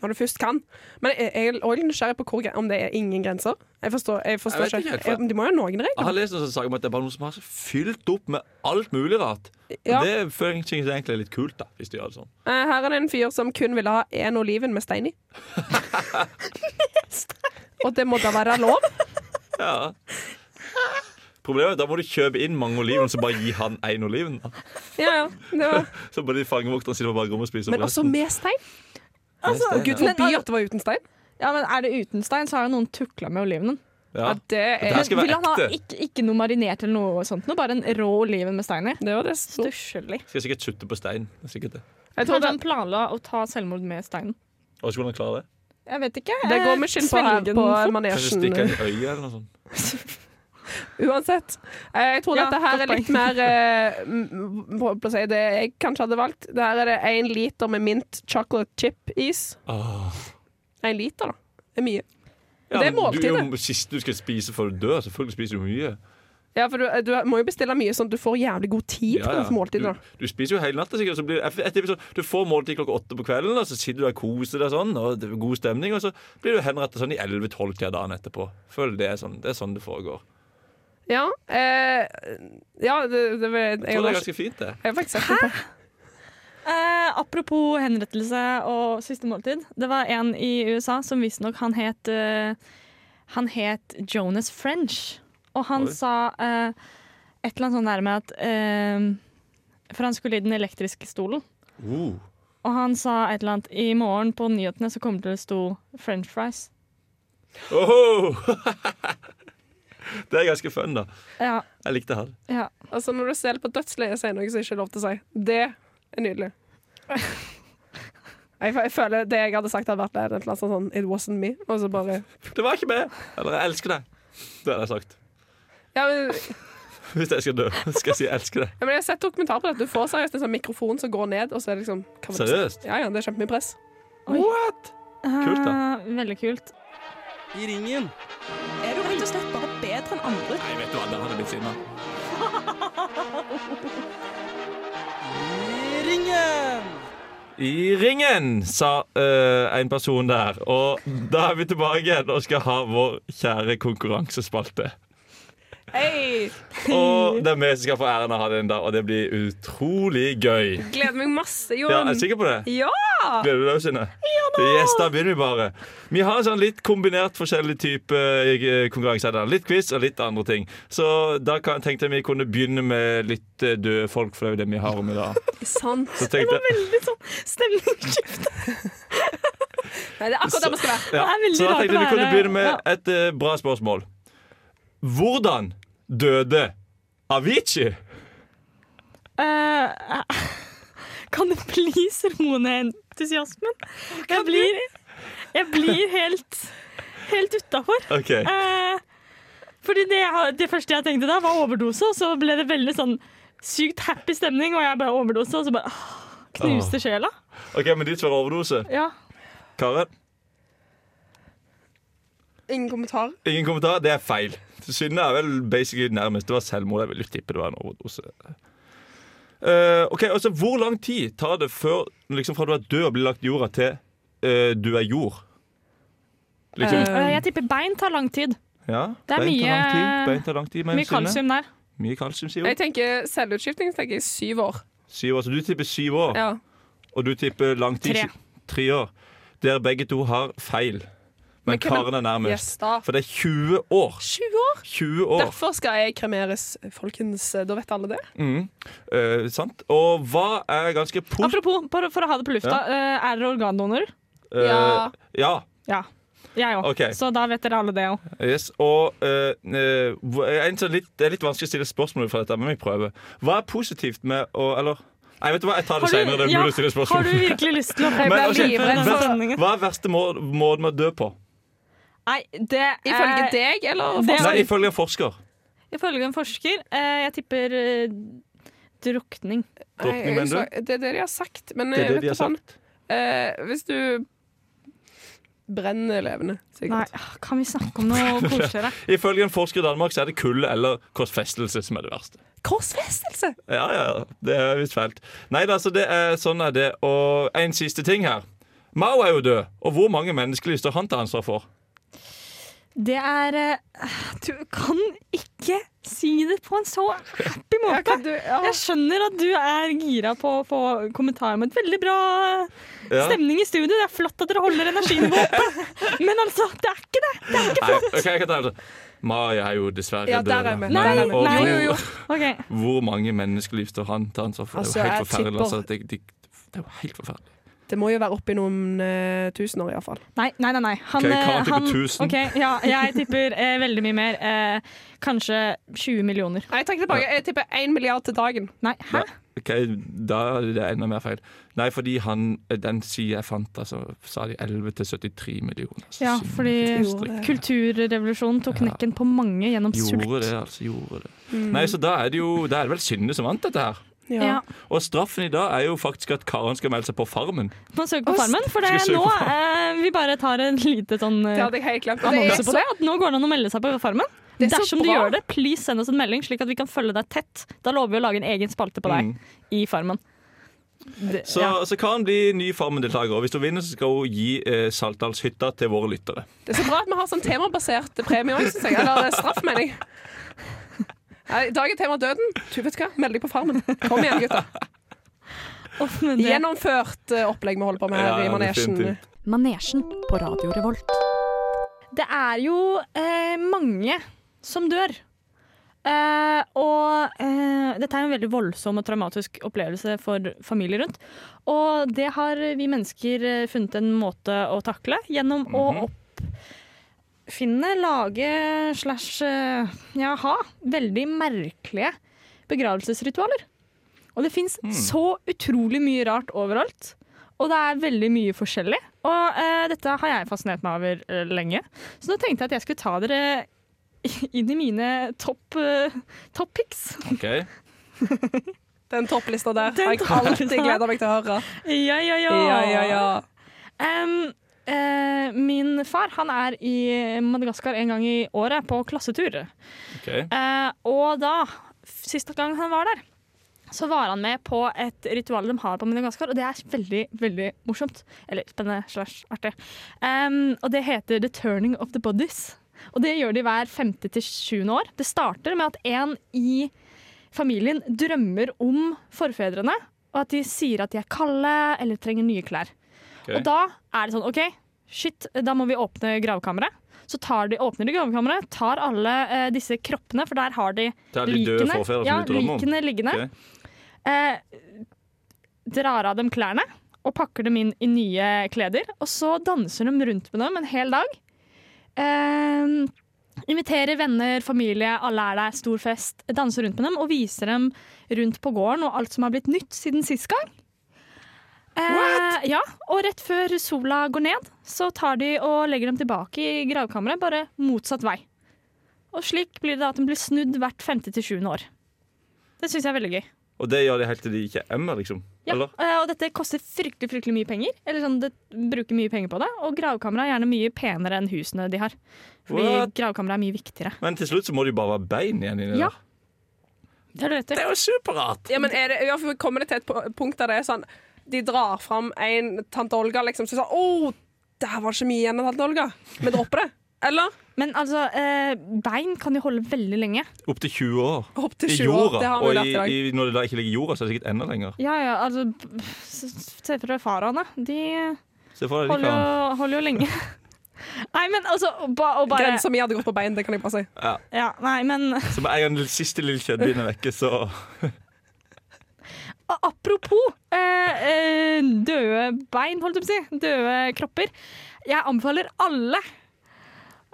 [SPEAKER 4] Når du først kan. Men jeg jeg er også litt nysgjerrig på hvor, gre- om det er ingen grenser. Jeg forstår, jeg forstår
[SPEAKER 2] Jeg vet ikke helt, for-
[SPEAKER 4] Ja, men De må jo ha noen regler.
[SPEAKER 2] Jeg har lest en sånn sak om at det er bare noen som har fylt opp med alt mulig rart.
[SPEAKER 4] Ja.
[SPEAKER 2] Det føler jeg synes egentlig er litt kult, da, hvis de gjør det sånn.
[SPEAKER 4] Eh, Her er det en fyr som kun ville ha én oliven med stein i. Og det må da være lov?
[SPEAKER 2] Ja. Problemet er at da må du kjøpe inn mange oliven, så bare gi han én oliven. da.
[SPEAKER 4] Ja, ja. Det var.
[SPEAKER 2] Så bare de fangevokterne sitter på bakrommet og spiser opp
[SPEAKER 4] Men også
[SPEAKER 2] resten.
[SPEAKER 4] med stein?
[SPEAKER 2] Altså,
[SPEAKER 4] Og Gud
[SPEAKER 5] Men
[SPEAKER 4] forby
[SPEAKER 5] al-
[SPEAKER 4] at det var uten stein.
[SPEAKER 5] Ja, men Er det uten stein, så har jo noen tukla med olivenen.
[SPEAKER 2] Ja.
[SPEAKER 4] det,
[SPEAKER 2] er- skal være
[SPEAKER 5] Vil han ha
[SPEAKER 2] ekte.
[SPEAKER 5] ikke, ikke noe marinert eller noe sånt? Noe, bare en rå oliven med stein i?
[SPEAKER 4] det var det
[SPEAKER 5] Stusslig.
[SPEAKER 2] Skal sikkert sutte på stein. Det er sikkert det.
[SPEAKER 4] Jeg
[SPEAKER 5] Kanskje
[SPEAKER 4] tror det,
[SPEAKER 5] han planla å ta selvmord med steinen?
[SPEAKER 2] Og så hvordan han klarer det?
[SPEAKER 5] Jeg vet ikke.
[SPEAKER 4] det går
[SPEAKER 5] Eh,
[SPEAKER 4] med skinn på her
[SPEAKER 5] svelge
[SPEAKER 4] på
[SPEAKER 5] den fort.
[SPEAKER 2] Kanskje stikke
[SPEAKER 4] manesjen.
[SPEAKER 2] en øye eller noe sånt.
[SPEAKER 4] Uansett. Eh, Jeg tror
[SPEAKER 5] Ja,
[SPEAKER 4] dette her
[SPEAKER 5] godt
[SPEAKER 4] er litt mer eh, m- m- holdt på å si det jeg kanskje hadde valgt. Der er det én liter med mint chocolate chip-is.
[SPEAKER 2] Åh.
[SPEAKER 4] Én liter, da. Det er mye.
[SPEAKER 2] Ja,
[SPEAKER 4] Det er
[SPEAKER 2] men Du er
[SPEAKER 4] måltidet.
[SPEAKER 2] jo siste du skal spise før du dør. Selvfølgelig spiser du mye.
[SPEAKER 4] Ja, for du, du må jo bestille mye sånn at du får jævlig god tid på dette måltidet. da.
[SPEAKER 2] Du, du spiser jo hele natta, sikkert. og Så blir, jeg- jeg tipper sånn, du får måltid klokka åtte på kvelden, og så sitter du der og koser deg sånn, og det er god stemning, og så blir du henrettet sånn i 11-12-tida dagen etterpå. Føler det er sånn det, er sånn det foregår.
[SPEAKER 4] Ja, eh, ja det, det, jeg,
[SPEAKER 2] Jeg
[SPEAKER 4] jeg,
[SPEAKER 2] tror det er
[SPEAKER 4] jeg,
[SPEAKER 2] ganske fint, det.
[SPEAKER 4] har faktisk sett det på.
[SPEAKER 5] Eh, apropos henrettelse og siste måltid. Det var en i USA som visstnok han het eh, Han het Jonas French. Og han
[SPEAKER 2] Oi.
[SPEAKER 5] sa eh, et eller annet sånn der med at eh, For han skulle i den elektriske stolen.
[SPEAKER 2] Uh,
[SPEAKER 5] Og han sa et eller annet I morgen på nyhetene så kommer det til å stå french fries.
[SPEAKER 2] Oho! det er ganske fun, da.
[SPEAKER 5] Ja,
[SPEAKER 2] Jeg likte han.
[SPEAKER 5] ja.
[SPEAKER 4] Altså Når du selv på dødsleiet sier noe som ikke er lov til å si, det er nydelig. Jeg, f- jeg føler Det jeg hadde sagt, hadde vært et eller annet sånn It wasn't me. Og så bare
[SPEAKER 2] Det var ikke meg! Eller jeg elsker deg. Det hadde jeg sagt.
[SPEAKER 4] ja, men,
[SPEAKER 2] Hvis jeg skal dø, skal jeg si jeg elsker deg.
[SPEAKER 4] ja, men Jeg har sett dokumentar på dette. Du får seriøst en sånn mikrofon som går ned, og så er det liksom hva var det du sa?
[SPEAKER 2] Seriøst?
[SPEAKER 4] Ja, ja, Det er kjempemye press.
[SPEAKER 2] What? Kult, da.
[SPEAKER 5] Eh, veldig kult.
[SPEAKER 9] I ringen.
[SPEAKER 1] Er du rett og slett bare bedre enn andre?
[SPEAKER 2] Nei, vet du hva, der hadde jeg blitt sinna.
[SPEAKER 9] I ringen.
[SPEAKER 2] I ringen, sa eh, en person der. Og da er vi tilbake igjen og skal ha vår kjære konkurransespalte.
[SPEAKER 4] Hei!
[SPEAKER 2] Og det er vi som skal få æren av å ha den der, og det blir utrolig gøy.
[SPEAKER 4] Gleder meg masse,
[SPEAKER 2] Ja,
[SPEAKER 4] Jon.
[SPEAKER 2] jeg er sikker på det.
[SPEAKER 4] Ja!
[SPEAKER 2] Gleder du deg, Synne? Yes, da begynner vi bare. Vi har en sånn litt kombinert forskjellig type eh, konkurranse. her da. Litt quiz og litt andre ting. Så da kan, tenkte jeg vi kunne begynne med litt eh, døde folk, for det er jo det vi har om i dag.
[SPEAKER 4] Sant.
[SPEAKER 2] Så tenkte jeg
[SPEAKER 5] Litt sånn stemningsskift.
[SPEAKER 4] Nei, det er akkurat der vi skal være.
[SPEAKER 5] Det
[SPEAKER 2] Ja.
[SPEAKER 5] er veldig
[SPEAKER 2] Så da
[SPEAKER 5] rart
[SPEAKER 2] tenkte jeg
[SPEAKER 5] å
[SPEAKER 2] vi kunne
[SPEAKER 5] være-
[SPEAKER 2] begynne med
[SPEAKER 5] Ja.
[SPEAKER 2] et eh, bra spørsmål. Hvordan døde Avicii?
[SPEAKER 5] Eh, kan du please roe ned entusiasmen? Jeg blir, jeg blir helt, helt utafor.
[SPEAKER 2] OK.
[SPEAKER 5] Eh, fordi det, jeg har- det første jeg tenkte da, var overdose, og så ble det veldig sånn sykt happy stemning, og jeg bare overdose, og så bare ah, knuste sjela.
[SPEAKER 2] ok, Men ditt var overdose.
[SPEAKER 5] Ja.
[SPEAKER 2] Karen,
[SPEAKER 4] Ingen kommentar.
[SPEAKER 2] ingen kommentar. Det er feil. Synne er vel basically nærmest. Det var selvmord. Jeg vil jo tippe det var en overdose. Eh, ok, altså Hvor lang tid tar det før liksom fra du er død og blir lagt i jorda, til eh, du er jord? Liksom,
[SPEAKER 5] Eh, jeg tipper bein tar lang tid.
[SPEAKER 2] ja,
[SPEAKER 5] det er
[SPEAKER 2] bein tar lang tid,
[SPEAKER 5] mye-
[SPEAKER 2] bein tar lang tid, mener
[SPEAKER 5] Mye
[SPEAKER 2] Synne.
[SPEAKER 5] kalsium der.
[SPEAKER 2] Mye kalsium, sier
[SPEAKER 4] Jeg
[SPEAKER 2] hun.
[SPEAKER 4] tenker selvutskifting så tenker jeg syv år.
[SPEAKER 2] Syv år, så du tipper syv år,
[SPEAKER 4] Ja.
[SPEAKER 2] og du tipper lang tid
[SPEAKER 5] Tre.
[SPEAKER 2] tre år. Dere begge to har feil, men,
[SPEAKER 4] Men hvem er-
[SPEAKER 2] Karen er nærmest.
[SPEAKER 4] Yes, da.
[SPEAKER 2] For det er 20 år.
[SPEAKER 4] 20 år!
[SPEAKER 2] 20 år.
[SPEAKER 4] Derfor skal jeg kremeres, folkens. Eh, Da vet alle det.
[SPEAKER 2] Mm. Eh, sant? Og hva er ganske pos...
[SPEAKER 5] Apropos, bare for å ha det på lufta, eh, er dere organdonor?
[SPEAKER 2] eh,
[SPEAKER 4] Ja.
[SPEAKER 2] ja.
[SPEAKER 5] Ja. Jeg òg.
[SPEAKER 2] Ok.
[SPEAKER 5] Så da vet dere alle det òg.
[SPEAKER 2] Yes. Og eh, eh, hvor- en sånn litt, det er litt vanskelig å stille spørsmål ut fra dette, men vi prøver. Hva er positivt med å Eller Nei, vet du hva, jeg tar det senere. Det er mulig å stille
[SPEAKER 5] har
[SPEAKER 2] spørsmål.
[SPEAKER 5] du virkelig lyst til å
[SPEAKER 4] Jeg
[SPEAKER 2] Men,
[SPEAKER 4] ble
[SPEAKER 2] ok,
[SPEAKER 4] livredd
[SPEAKER 5] denne
[SPEAKER 4] for
[SPEAKER 5] sendingen?
[SPEAKER 2] Hva er verste må- måten med å dø på?
[SPEAKER 5] Nei, det er
[SPEAKER 4] Ifølge deg, eller?
[SPEAKER 5] Det
[SPEAKER 2] Nei, ifølge en forsker.
[SPEAKER 5] Ifølge en forsker. eh, jeg tipper eh, drukning.
[SPEAKER 4] Nei, jeg
[SPEAKER 2] Drukning, mener
[SPEAKER 4] husker- Det er det de har sagt. Men
[SPEAKER 2] Det er det
[SPEAKER 4] vet
[SPEAKER 2] de har
[SPEAKER 4] du faen,
[SPEAKER 2] sagt.
[SPEAKER 4] eh, hvis du brenner levende,
[SPEAKER 5] Nei,
[SPEAKER 4] sikkert.
[SPEAKER 5] ah, kan vi snakke om noe koseligere?
[SPEAKER 2] Ifølge en forsker i Danmark så er det kulde eller korsfestelse som er det verste.
[SPEAKER 4] Korsfestelse!
[SPEAKER 2] Ja, ja, ja. det er visst fælt. Nei da, så det er sånn er det. Og en siste ting her. Mao er jo død, og hvor mange menneskeliv står han til ansvar for?
[SPEAKER 5] Det er eh, Du kan ikke si det på en så happy
[SPEAKER 4] Ja,
[SPEAKER 5] måte.
[SPEAKER 4] kan du, ja.
[SPEAKER 5] Jeg skjønner at du er gira på å få kommentarer om et veldig bra
[SPEAKER 2] Ja.
[SPEAKER 5] stemning i studio. Det er flott at dere holder energinivået oppe, men altså, det er ikke det. Det er ikke
[SPEAKER 2] Nei,
[SPEAKER 5] flott.
[SPEAKER 2] ok, jeg kan ta det. Mai er jo dessverre
[SPEAKER 4] Ja, der
[SPEAKER 2] død.
[SPEAKER 4] er vi.
[SPEAKER 2] Men-
[SPEAKER 5] Nei, nei,
[SPEAKER 2] og
[SPEAKER 5] nei,
[SPEAKER 2] hvor-
[SPEAKER 5] jo, jo. Ok.
[SPEAKER 2] Hvor mange menneskeliv står han til ansvar for?
[SPEAKER 4] Altså,
[SPEAKER 2] det er jo
[SPEAKER 4] jeg
[SPEAKER 2] helt forferdelig.
[SPEAKER 4] tipper-
[SPEAKER 2] Altså, det, det, det er jo helt forferdelig.
[SPEAKER 4] Det må jo være oppi noen eh, tusen år, iallfall.
[SPEAKER 5] Nei, nei, nei. nei. Han,
[SPEAKER 2] Ok,
[SPEAKER 5] eh,
[SPEAKER 2] Karen tipper
[SPEAKER 5] han-
[SPEAKER 2] 1000.
[SPEAKER 5] ok, ja, jeg tipper eh, veldig mye mer. Eh, kanskje 20 millioner.
[SPEAKER 4] Nei, jeg trekker tilbake. Jeg tipper én milliard til dagen.
[SPEAKER 5] Nei, hæ?
[SPEAKER 2] Ok, Da er det enda mer feil. Nei, fordi han, den sida jeg fant, altså, sa de 11 til 73 millioner. Så
[SPEAKER 5] Ja,
[SPEAKER 2] synd.
[SPEAKER 5] fordi
[SPEAKER 2] Gjorde det.
[SPEAKER 5] kulturrevolusjonen tok
[SPEAKER 2] Ja.
[SPEAKER 5] knekken på mange gjennom
[SPEAKER 2] Gjorde
[SPEAKER 5] sult.
[SPEAKER 2] det, altså. Gjorde det.
[SPEAKER 4] Mm.
[SPEAKER 2] Nei, så da er det jo Da er det vel Synne som vant dette her.
[SPEAKER 5] Ja.
[SPEAKER 2] Og straffen i dag er jo faktisk at Karen skal melde seg på Farmen.
[SPEAKER 5] Må søke på
[SPEAKER 4] Å,
[SPEAKER 5] Farmen, for det er
[SPEAKER 2] skal vi søke
[SPEAKER 5] nå
[SPEAKER 2] på
[SPEAKER 5] eh, vi bare tar en lite sånn
[SPEAKER 4] Det
[SPEAKER 5] eh,
[SPEAKER 4] hadde jeg helt glemt. Og det er
[SPEAKER 5] annonse på
[SPEAKER 4] så-
[SPEAKER 5] det. At nå går det an å melde seg på Farmen.
[SPEAKER 4] Det er så
[SPEAKER 5] Dersom du
[SPEAKER 4] bra.
[SPEAKER 5] gjør det, please send oss en melding, slik at vi kan følge deg tett. Da lover vi å lage en egen spalte på deg
[SPEAKER 2] Mm.
[SPEAKER 5] i Farmen. Det-
[SPEAKER 2] Så,
[SPEAKER 5] ja.
[SPEAKER 2] så Karen blir ny Farmen-deltaker, og hvis hun vinner, så skal hun gi eh, Saltdalshytta til våre lyttere.
[SPEAKER 4] Det er så bra at vi har sånn temabasert premie òg, syns jeg. Eller eh, straff, mener jeg. Nei, I dag er tema døden. Du vet hva, meld deg på Farmen. Kom igjen, gutta.
[SPEAKER 5] Uff, men det-
[SPEAKER 4] Gjennomført eh, opplegg vi holder på med her i
[SPEAKER 2] Ja,
[SPEAKER 4] manesjen.
[SPEAKER 2] definitivt.
[SPEAKER 8] Manesjen på Radio Revolt.
[SPEAKER 5] Det er jo eh, mange som dør. Eh, og eh, dette er en veldig voldsom og traumatisk opplevelse for familier rundt. Og det har vi mennesker eh, funnet en måte å takle gjennom å oppfinne, lage slash eh, ja, ha veldig merkelige begravelsesritualer. Og det fins så utrolig mye rart overalt. Og det er veldig mye forskjellig. Og eh, dette har jeg fascinert meg over eh, lenge. Så nå tenkte jeg at jeg skulle ta dere inn i mine topp eh, top picks.
[SPEAKER 2] Ok?
[SPEAKER 4] Den topplista der
[SPEAKER 5] Den
[SPEAKER 4] har jeg
[SPEAKER 5] topplista
[SPEAKER 4] alltid
[SPEAKER 5] der.
[SPEAKER 4] gleda meg til å høre.
[SPEAKER 5] Ja, ja, ja.
[SPEAKER 4] Ja, ja, ja.
[SPEAKER 5] Em, eh, min far han er i Madagaskar en gang i året på klassetur.
[SPEAKER 2] ok.
[SPEAKER 5] Eh, og da, siste gang han var der, så var han med på et ritual de har på Madagaskar, og det er veldig, veldig morsomt. Eller spennende slash artig. Em, og det heter The Turning of the Bodies. Og det gjør de hver femte til sjuende år. Det starter med at en i familien drømmer om forfedrene, og at de sier at de er kalde eller trenger nye klær.
[SPEAKER 2] Ok.
[SPEAKER 5] Og da er det sånn, ok, shit, da må vi åpne gravkammeret. Så tar de, åpner de gravkammeret, tar alle eh, disse kroppene, for der har de
[SPEAKER 2] Det er de døde
[SPEAKER 5] likene,
[SPEAKER 2] forfedre som
[SPEAKER 5] ja,
[SPEAKER 2] du drømmer om.
[SPEAKER 5] likene liggende.
[SPEAKER 2] Ok.
[SPEAKER 5] Eh, drar av dem klærne og pakker dem inn i nye kleder. Og så danser de rundt med dem en hel dag. Eh, Inviterer venner, familie, alle er der, stor fest. Danser rundt med dem og viser dem rundt på gården og alt som har blitt nytt siden sist gang. Eh, ja, og rett før sola går ned, så tar de og legger dem tilbake i gravkammeret, bare motsatt vei. Og slik blir det da at den blir snudd hvert femte til sjuende år. Det syns jeg er veldig gøy.
[SPEAKER 2] Og det gjør de helt til de ikke er emmer, liksom?
[SPEAKER 5] Ja,
[SPEAKER 2] Eller?
[SPEAKER 5] eh, og dette koster fryktelig fryktelig mye penger. Eller sånn, det bruker mye penger på det Og gravkamera er gjerne mye penere enn husene de har. Fordi
[SPEAKER 2] What?
[SPEAKER 5] gravkamera er mye viktigere.
[SPEAKER 2] Men til slutt så må de bare være bein igjen inni
[SPEAKER 5] Ja.
[SPEAKER 2] der.
[SPEAKER 5] Det har du rett i.
[SPEAKER 2] Det er jo superrart!
[SPEAKER 4] Ja, men er det, i hvert fall kommer det til et pu- punkt der det er sånn De drar fram en tante Olga, liksom, så sånn Å, der var det ikke mye igjen av tante Olga. Vi dropper det. Eller
[SPEAKER 5] Men altså, eh, bein kan jo holde veldig lenge.
[SPEAKER 2] Opptil 20 år.
[SPEAKER 4] hopp til
[SPEAKER 2] I
[SPEAKER 4] 20 år.
[SPEAKER 2] jorda.
[SPEAKER 4] Det har vi
[SPEAKER 2] Og
[SPEAKER 4] lært i dag.
[SPEAKER 2] i, i, når det da ikke ligger i jorda, så er det sikkert enda lenger.
[SPEAKER 5] Ja, ja, altså p- Se for deg faraene. De
[SPEAKER 2] Se for deg de
[SPEAKER 5] holder
[SPEAKER 2] kan
[SPEAKER 5] jo, holder jo lenge. Nei, men altså ba, og bare,
[SPEAKER 4] Grensa mi hadde gått på bein, det kan jeg bare si.
[SPEAKER 5] ja, Nei, men
[SPEAKER 2] Så med en gang den siste lille kjøttbiten er vekke, så
[SPEAKER 5] A- Apropos eh, eh, døde bein, holdt jeg på å si. Døde kropper. Jeg anbefaler alle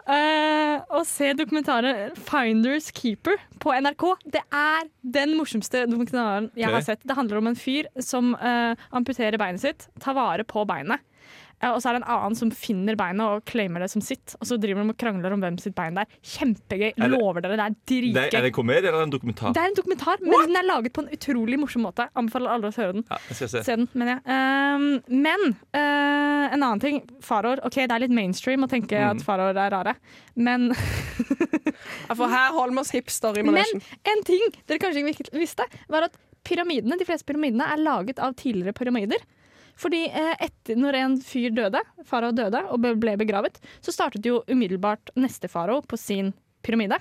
[SPEAKER 5] eh, å se dokumentaren 'Finders Keeper' på NRK. Det er den morsomste dokumentaren jeg
[SPEAKER 2] Ok.
[SPEAKER 5] har sett. Det handler om en fyr som eh, amputerer beinet sitt, tar vare på beinet. Eh, Og så er det en annen som finner beinet og claimer det som sitt. Og så driver de og krangler om hvem sitt bein det er. Kjempegøy.
[SPEAKER 2] Er det-
[SPEAKER 5] Lover dere, det er
[SPEAKER 2] det,
[SPEAKER 5] dritgøy.
[SPEAKER 2] Er det en komedie eller en dokumentar?
[SPEAKER 5] Det er en dokumentar, men den er laget på en utrolig morsom måte. Anbefaler alle å høre den.
[SPEAKER 2] Ja, jeg skal se.
[SPEAKER 5] Se den, mener jeg. Ehm, men eh, en annen ting. Faror. Ok, det er litt mainstream å tenke at faror er rare, men
[SPEAKER 4] Ja, For her holder vi oss hipster i
[SPEAKER 5] Men
[SPEAKER 4] manesjen.
[SPEAKER 5] en ting dere kanskje ikke virke- visste, var at pyramidene, de fleste pyramidene er laget av tidligere pyramider. Fordi eh, etter, når en fyr døde, farao døde og be- ble begravet, så startet jo umiddelbart neste farao på sin pyramide.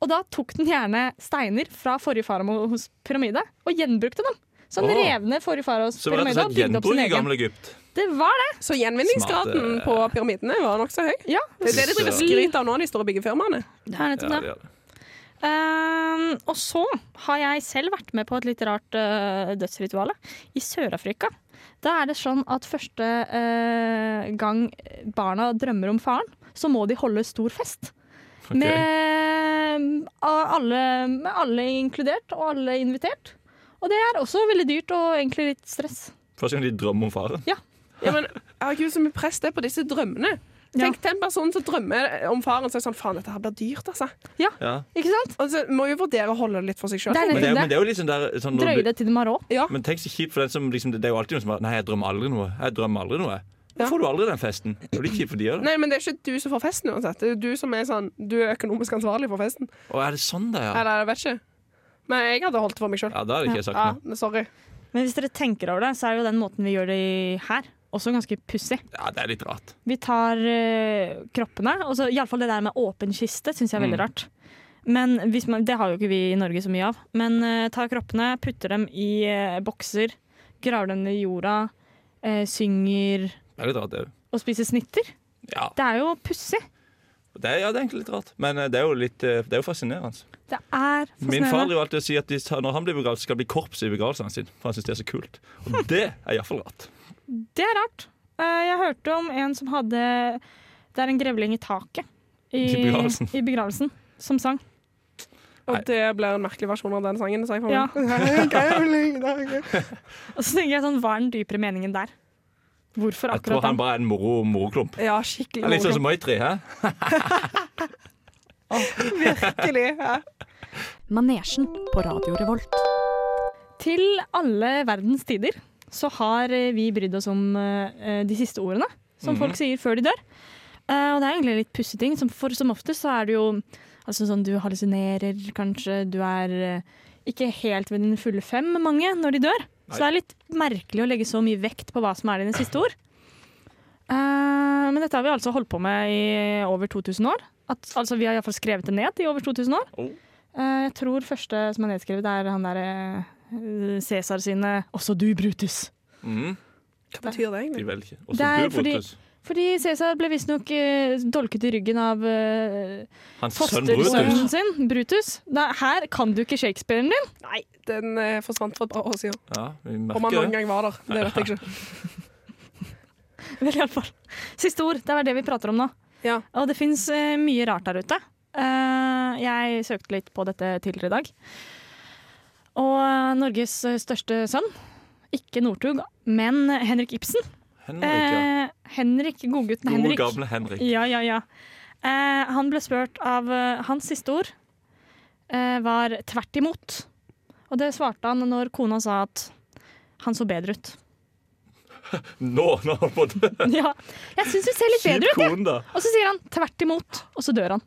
[SPEAKER 5] Og da tok den gjerne steiner fra forrige faraos pyramide og gjenbrukte dem. Så han
[SPEAKER 2] Åh.
[SPEAKER 5] rev ned forrige faraos
[SPEAKER 2] Så rett og
[SPEAKER 5] pyramide og
[SPEAKER 2] slett
[SPEAKER 5] bygde opp
[SPEAKER 2] gjenbruk
[SPEAKER 5] sin
[SPEAKER 2] i
[SPEAKER 5] egen.
[SPEAKER 2] gamle Egypt.
[SPEAKER 5] Det var det!
[SPEAKER 4] Så gjenvinningsgraden
[SPEAKER 2] Smarte-
[SPEAKER 4] på pyramidene var nokså høy.
[SPEAKER 5] Ja,
[SPEAKER 4] Det er det de driver og skryter av nå, de store byggefirmaene.
[SPEAKER 5] Det er nettopp
[SPEAKER 2] Ja,
[SPEAKER 5] det.
[SPEAKER 2] det gjør det.
[SPEAKER 5] Ehm, og så har jeg selv vært med på et litt rart uh, dødsritual i Sør-Afrika. Da er det sånn at første eh, gang barna drømmer om faren, så må de holde stor fest.
[SPEAKER 2] Ok.
[SPEAKER 5] Med, av alle, med alle inkludert og alle invitert. Og det er også veldig dyrt og egentlig litt stress.
[SPEAKER 2] Første gang de drømmer om faren.
[SPEAKER 4] Ja, men herregud, så mye press det er på disse drømmene.
[SPEAKER 5] Ja.
[SPEAKER 4] Tenk til en person som drømmer om faren, så er det sånn Faen, dette her blir dyrt, altså.
[SPEAKER 2] Ja.
[SPEAKER 5] Ikke sant?
[SPEAKER 4] Og så må jo vurdere å holde det litt for seg sjøl.
[SPEAKER 5] Det er
[SPEAKER 2] Men, det er,
[SPEAKER 5] nettopp
[SPEAKER 2] men
[SPEAKER 5] det.
[SPEAKER 2] det er jo liksom der sånn, når
[SPEAKER 5] Drøye
[SPEAKER 2] du-
[SPEAKER 5] det til de har råd.
[SPEAKER 4] Ja.
[SPEAKER 2] Men tenk så kjipt for den som liksom, Det er jo alltid noen som bare Nei, jeg drømmer aldri noe. Jeg drømmer aldri noe. Da
[SPEAKER 4] Ja.
[SPEAKER 2] får du aldri den festen. Det blir kjipt for de òg.
[SPEAKER 4] Nei, men det er ikke du som får festen uansett. Det er jo du som er sånn Du er økonomisk ansvarlig for festen.
[SPEAKER 2] Å, er det sånn det er? Ja,
[SPEAKER 4] Eller jeg vet ikke. Men jeg hadde holdt det for meg sjøl.
[SPEAKER 2] ja da hadde ikke jeg sagt
[SPEAKER 4] Ja,
[SPEAKER 2] noe.
[SPEAKER 4] men sorry.
[SPEAKER 5] Men hvis dere tenker over det, så er jo den måten vi gjør det i her, også ganske pussig.
[SPEAKER 2] Ja, det er litt rart.
[SPEAKER 5] Vi tar eh, kroppene, og så iallfall det der med åpen kiste syns jeg er veldig
[SPEAKER 2] Mm.
[SPEAKER 5] rart. Men hvis man, Det har jo ikke vi i Norge så mye av. Men eh, tar kroppene, putter dem i eh, bokser, graver dem i jorda, eh, synger
[SPEAKER 2] Det er litt rart, det òg.
[SPEAKER 5] og spiser snitter.
[SPEAKER 2] Ja,
[SPEAKER 5] Det er jo pussig.
[SPEAKER 2] det er, ja, det er egentlig litt rart. Men eh, det er jo litt eh, Det er jo fascinerende.
[SPEAKER 5] Det er
[SPEAKER 2] Min far
[SPEAKER 5] fascinerende.
[SPEAKER 2] driver alltid og sier at de, tar- når han blir begravd, så skal det bli korps i begravelsen sin. For han syns det er så kult. Og det er iallfall rart.
[SPEAKER 5] Det er rart. Eh, jeg hørte om en som hadde Det er en grevling i taket i,
[SPEAKER 2] I begravelsen.
[SPEAKER 5] i begravelsen som sang.
[SPEAKER 4] Og
[SPEAKER 2] Nei.
[SPEAKER 4] det blir en merkelig versjon av den sangen. Så jeg får
[SPEAKER 5] Ja.
[SPEAKER 4] ja.
[SPEAKER 5] Og så tenker jeg sånn, hva er den dypere meningen der? Hvorfor
[SPEAKER 2] Jeg tror
[SPEAKER 5] akkurat
[SPEAKER 2] han
[SPEAKER 5] den?
[SPEAKER 2] bare er en moro moroklump.
[SPEAKER 4] ja,
[SPEAKER 2] Det
[SPEAKER 4] skikkelig
[SPEAKER 2] er Litt sånn
[SPEAKER 4] morsomt.
[SPEAKER 2] som Maitri. Hæ?
[SPEAKER 4] Virkelig. Ja.
[SPEAKER 8] Manesjen på Radio Revolt.
[SPEAKER 5] Til alle verdens tider så har eh, vi brydd oss om eh, de siste ordene, som folk sier før de dør. Eh, og det er egentlig litt pussige ting. Som for som oftest så er det jo altså sånn du hallusinerer, kanskje du er eh, ikke helt ved dine fulle fem, mange, når de dør. Så det er litt merkelig å legge så mye vekt på hva som er dine siste ord. Eh, men dette har vi altså holdt på med i over 2000 år. At, altså Vi har iallfall skrevet det ned i over 2000 år.
[SPEAKER 2] Oh.
[SPEAKER 5] Eh, jeg tror første som er nedskrevet, er han eh, derre Cæsar sine 'Også du, Brutus'.
[SPEAKER 2] Mm,
[SPEAKER 4] Hva betyr det
[SPEAKER 2] de
[SPEAKER 4] egentlig?
[SPEAKER 2] vel ikke.
[SPEAKER 5] Det
[SPEAKER 2] Også
[SPEAKER 5] er
[SPEAKER 2] du,
[SPEAKER 5] fordi-
[SPEAKER 2] Brutus.
[SPEAKER 5] Fordi Cæsar ble visstnok eh, dolket i ryggen av eh,
[SPEAKER 2] Hans sønn Brutus.
[SPEAKER 5] fostersønnen sin, Brutus. Nei, her kan du ikke Shakespearen din!
[SPEAKER 4] Nei, den eh, forsvant for et par år siden.
[SPEAKER 2] Ja, vi
[SPEAKER 4] Om han
[SPEAKER 2] merker
[SPEAKER 4] noen
[SPEAKER 2] det.
[SPEAKER 4] gang var der. Det vet jeg ikke.
[SPEAKER 5] Vel, i alle fall. Siste ord. Det er det vi prater om nå.
[SPEAKER 4] Ja.
[SPEAKER 5] Og det fins mye rart der ute. Eh, jeg søkte litt på dette tidligere i dag. Og eh, Norges største sønn, ikke Northug, men Henrik Ibsen.
[SPEAKER 2] Henrik,
[SPEAKER 5] Eh, Henrik, Godgutten
[SPEAKER 2] ja. Gode,
[SPEAKER 5] Henrik.
[SPEAKER 2] gamle Henrik.
[SPEAKER 5] Ja, ja, ja. Eh, han ble spurt av eh, Hans siste ord eh, var 'tvert imot'. Og det svarte han når kona sa at han så bedre ut.
[SPEAKER 2] Nå, nå holdt på det.
[SPEAKER 5] ja, jeg syns du ser litt bedre
[SPEAKER 2] Kjip
[SPEAKER 5] ut, jeg.
[SPEAKER 2] kone, da.
[SPEAKER 5] Og så sier han 'tvert imot', og så dør han.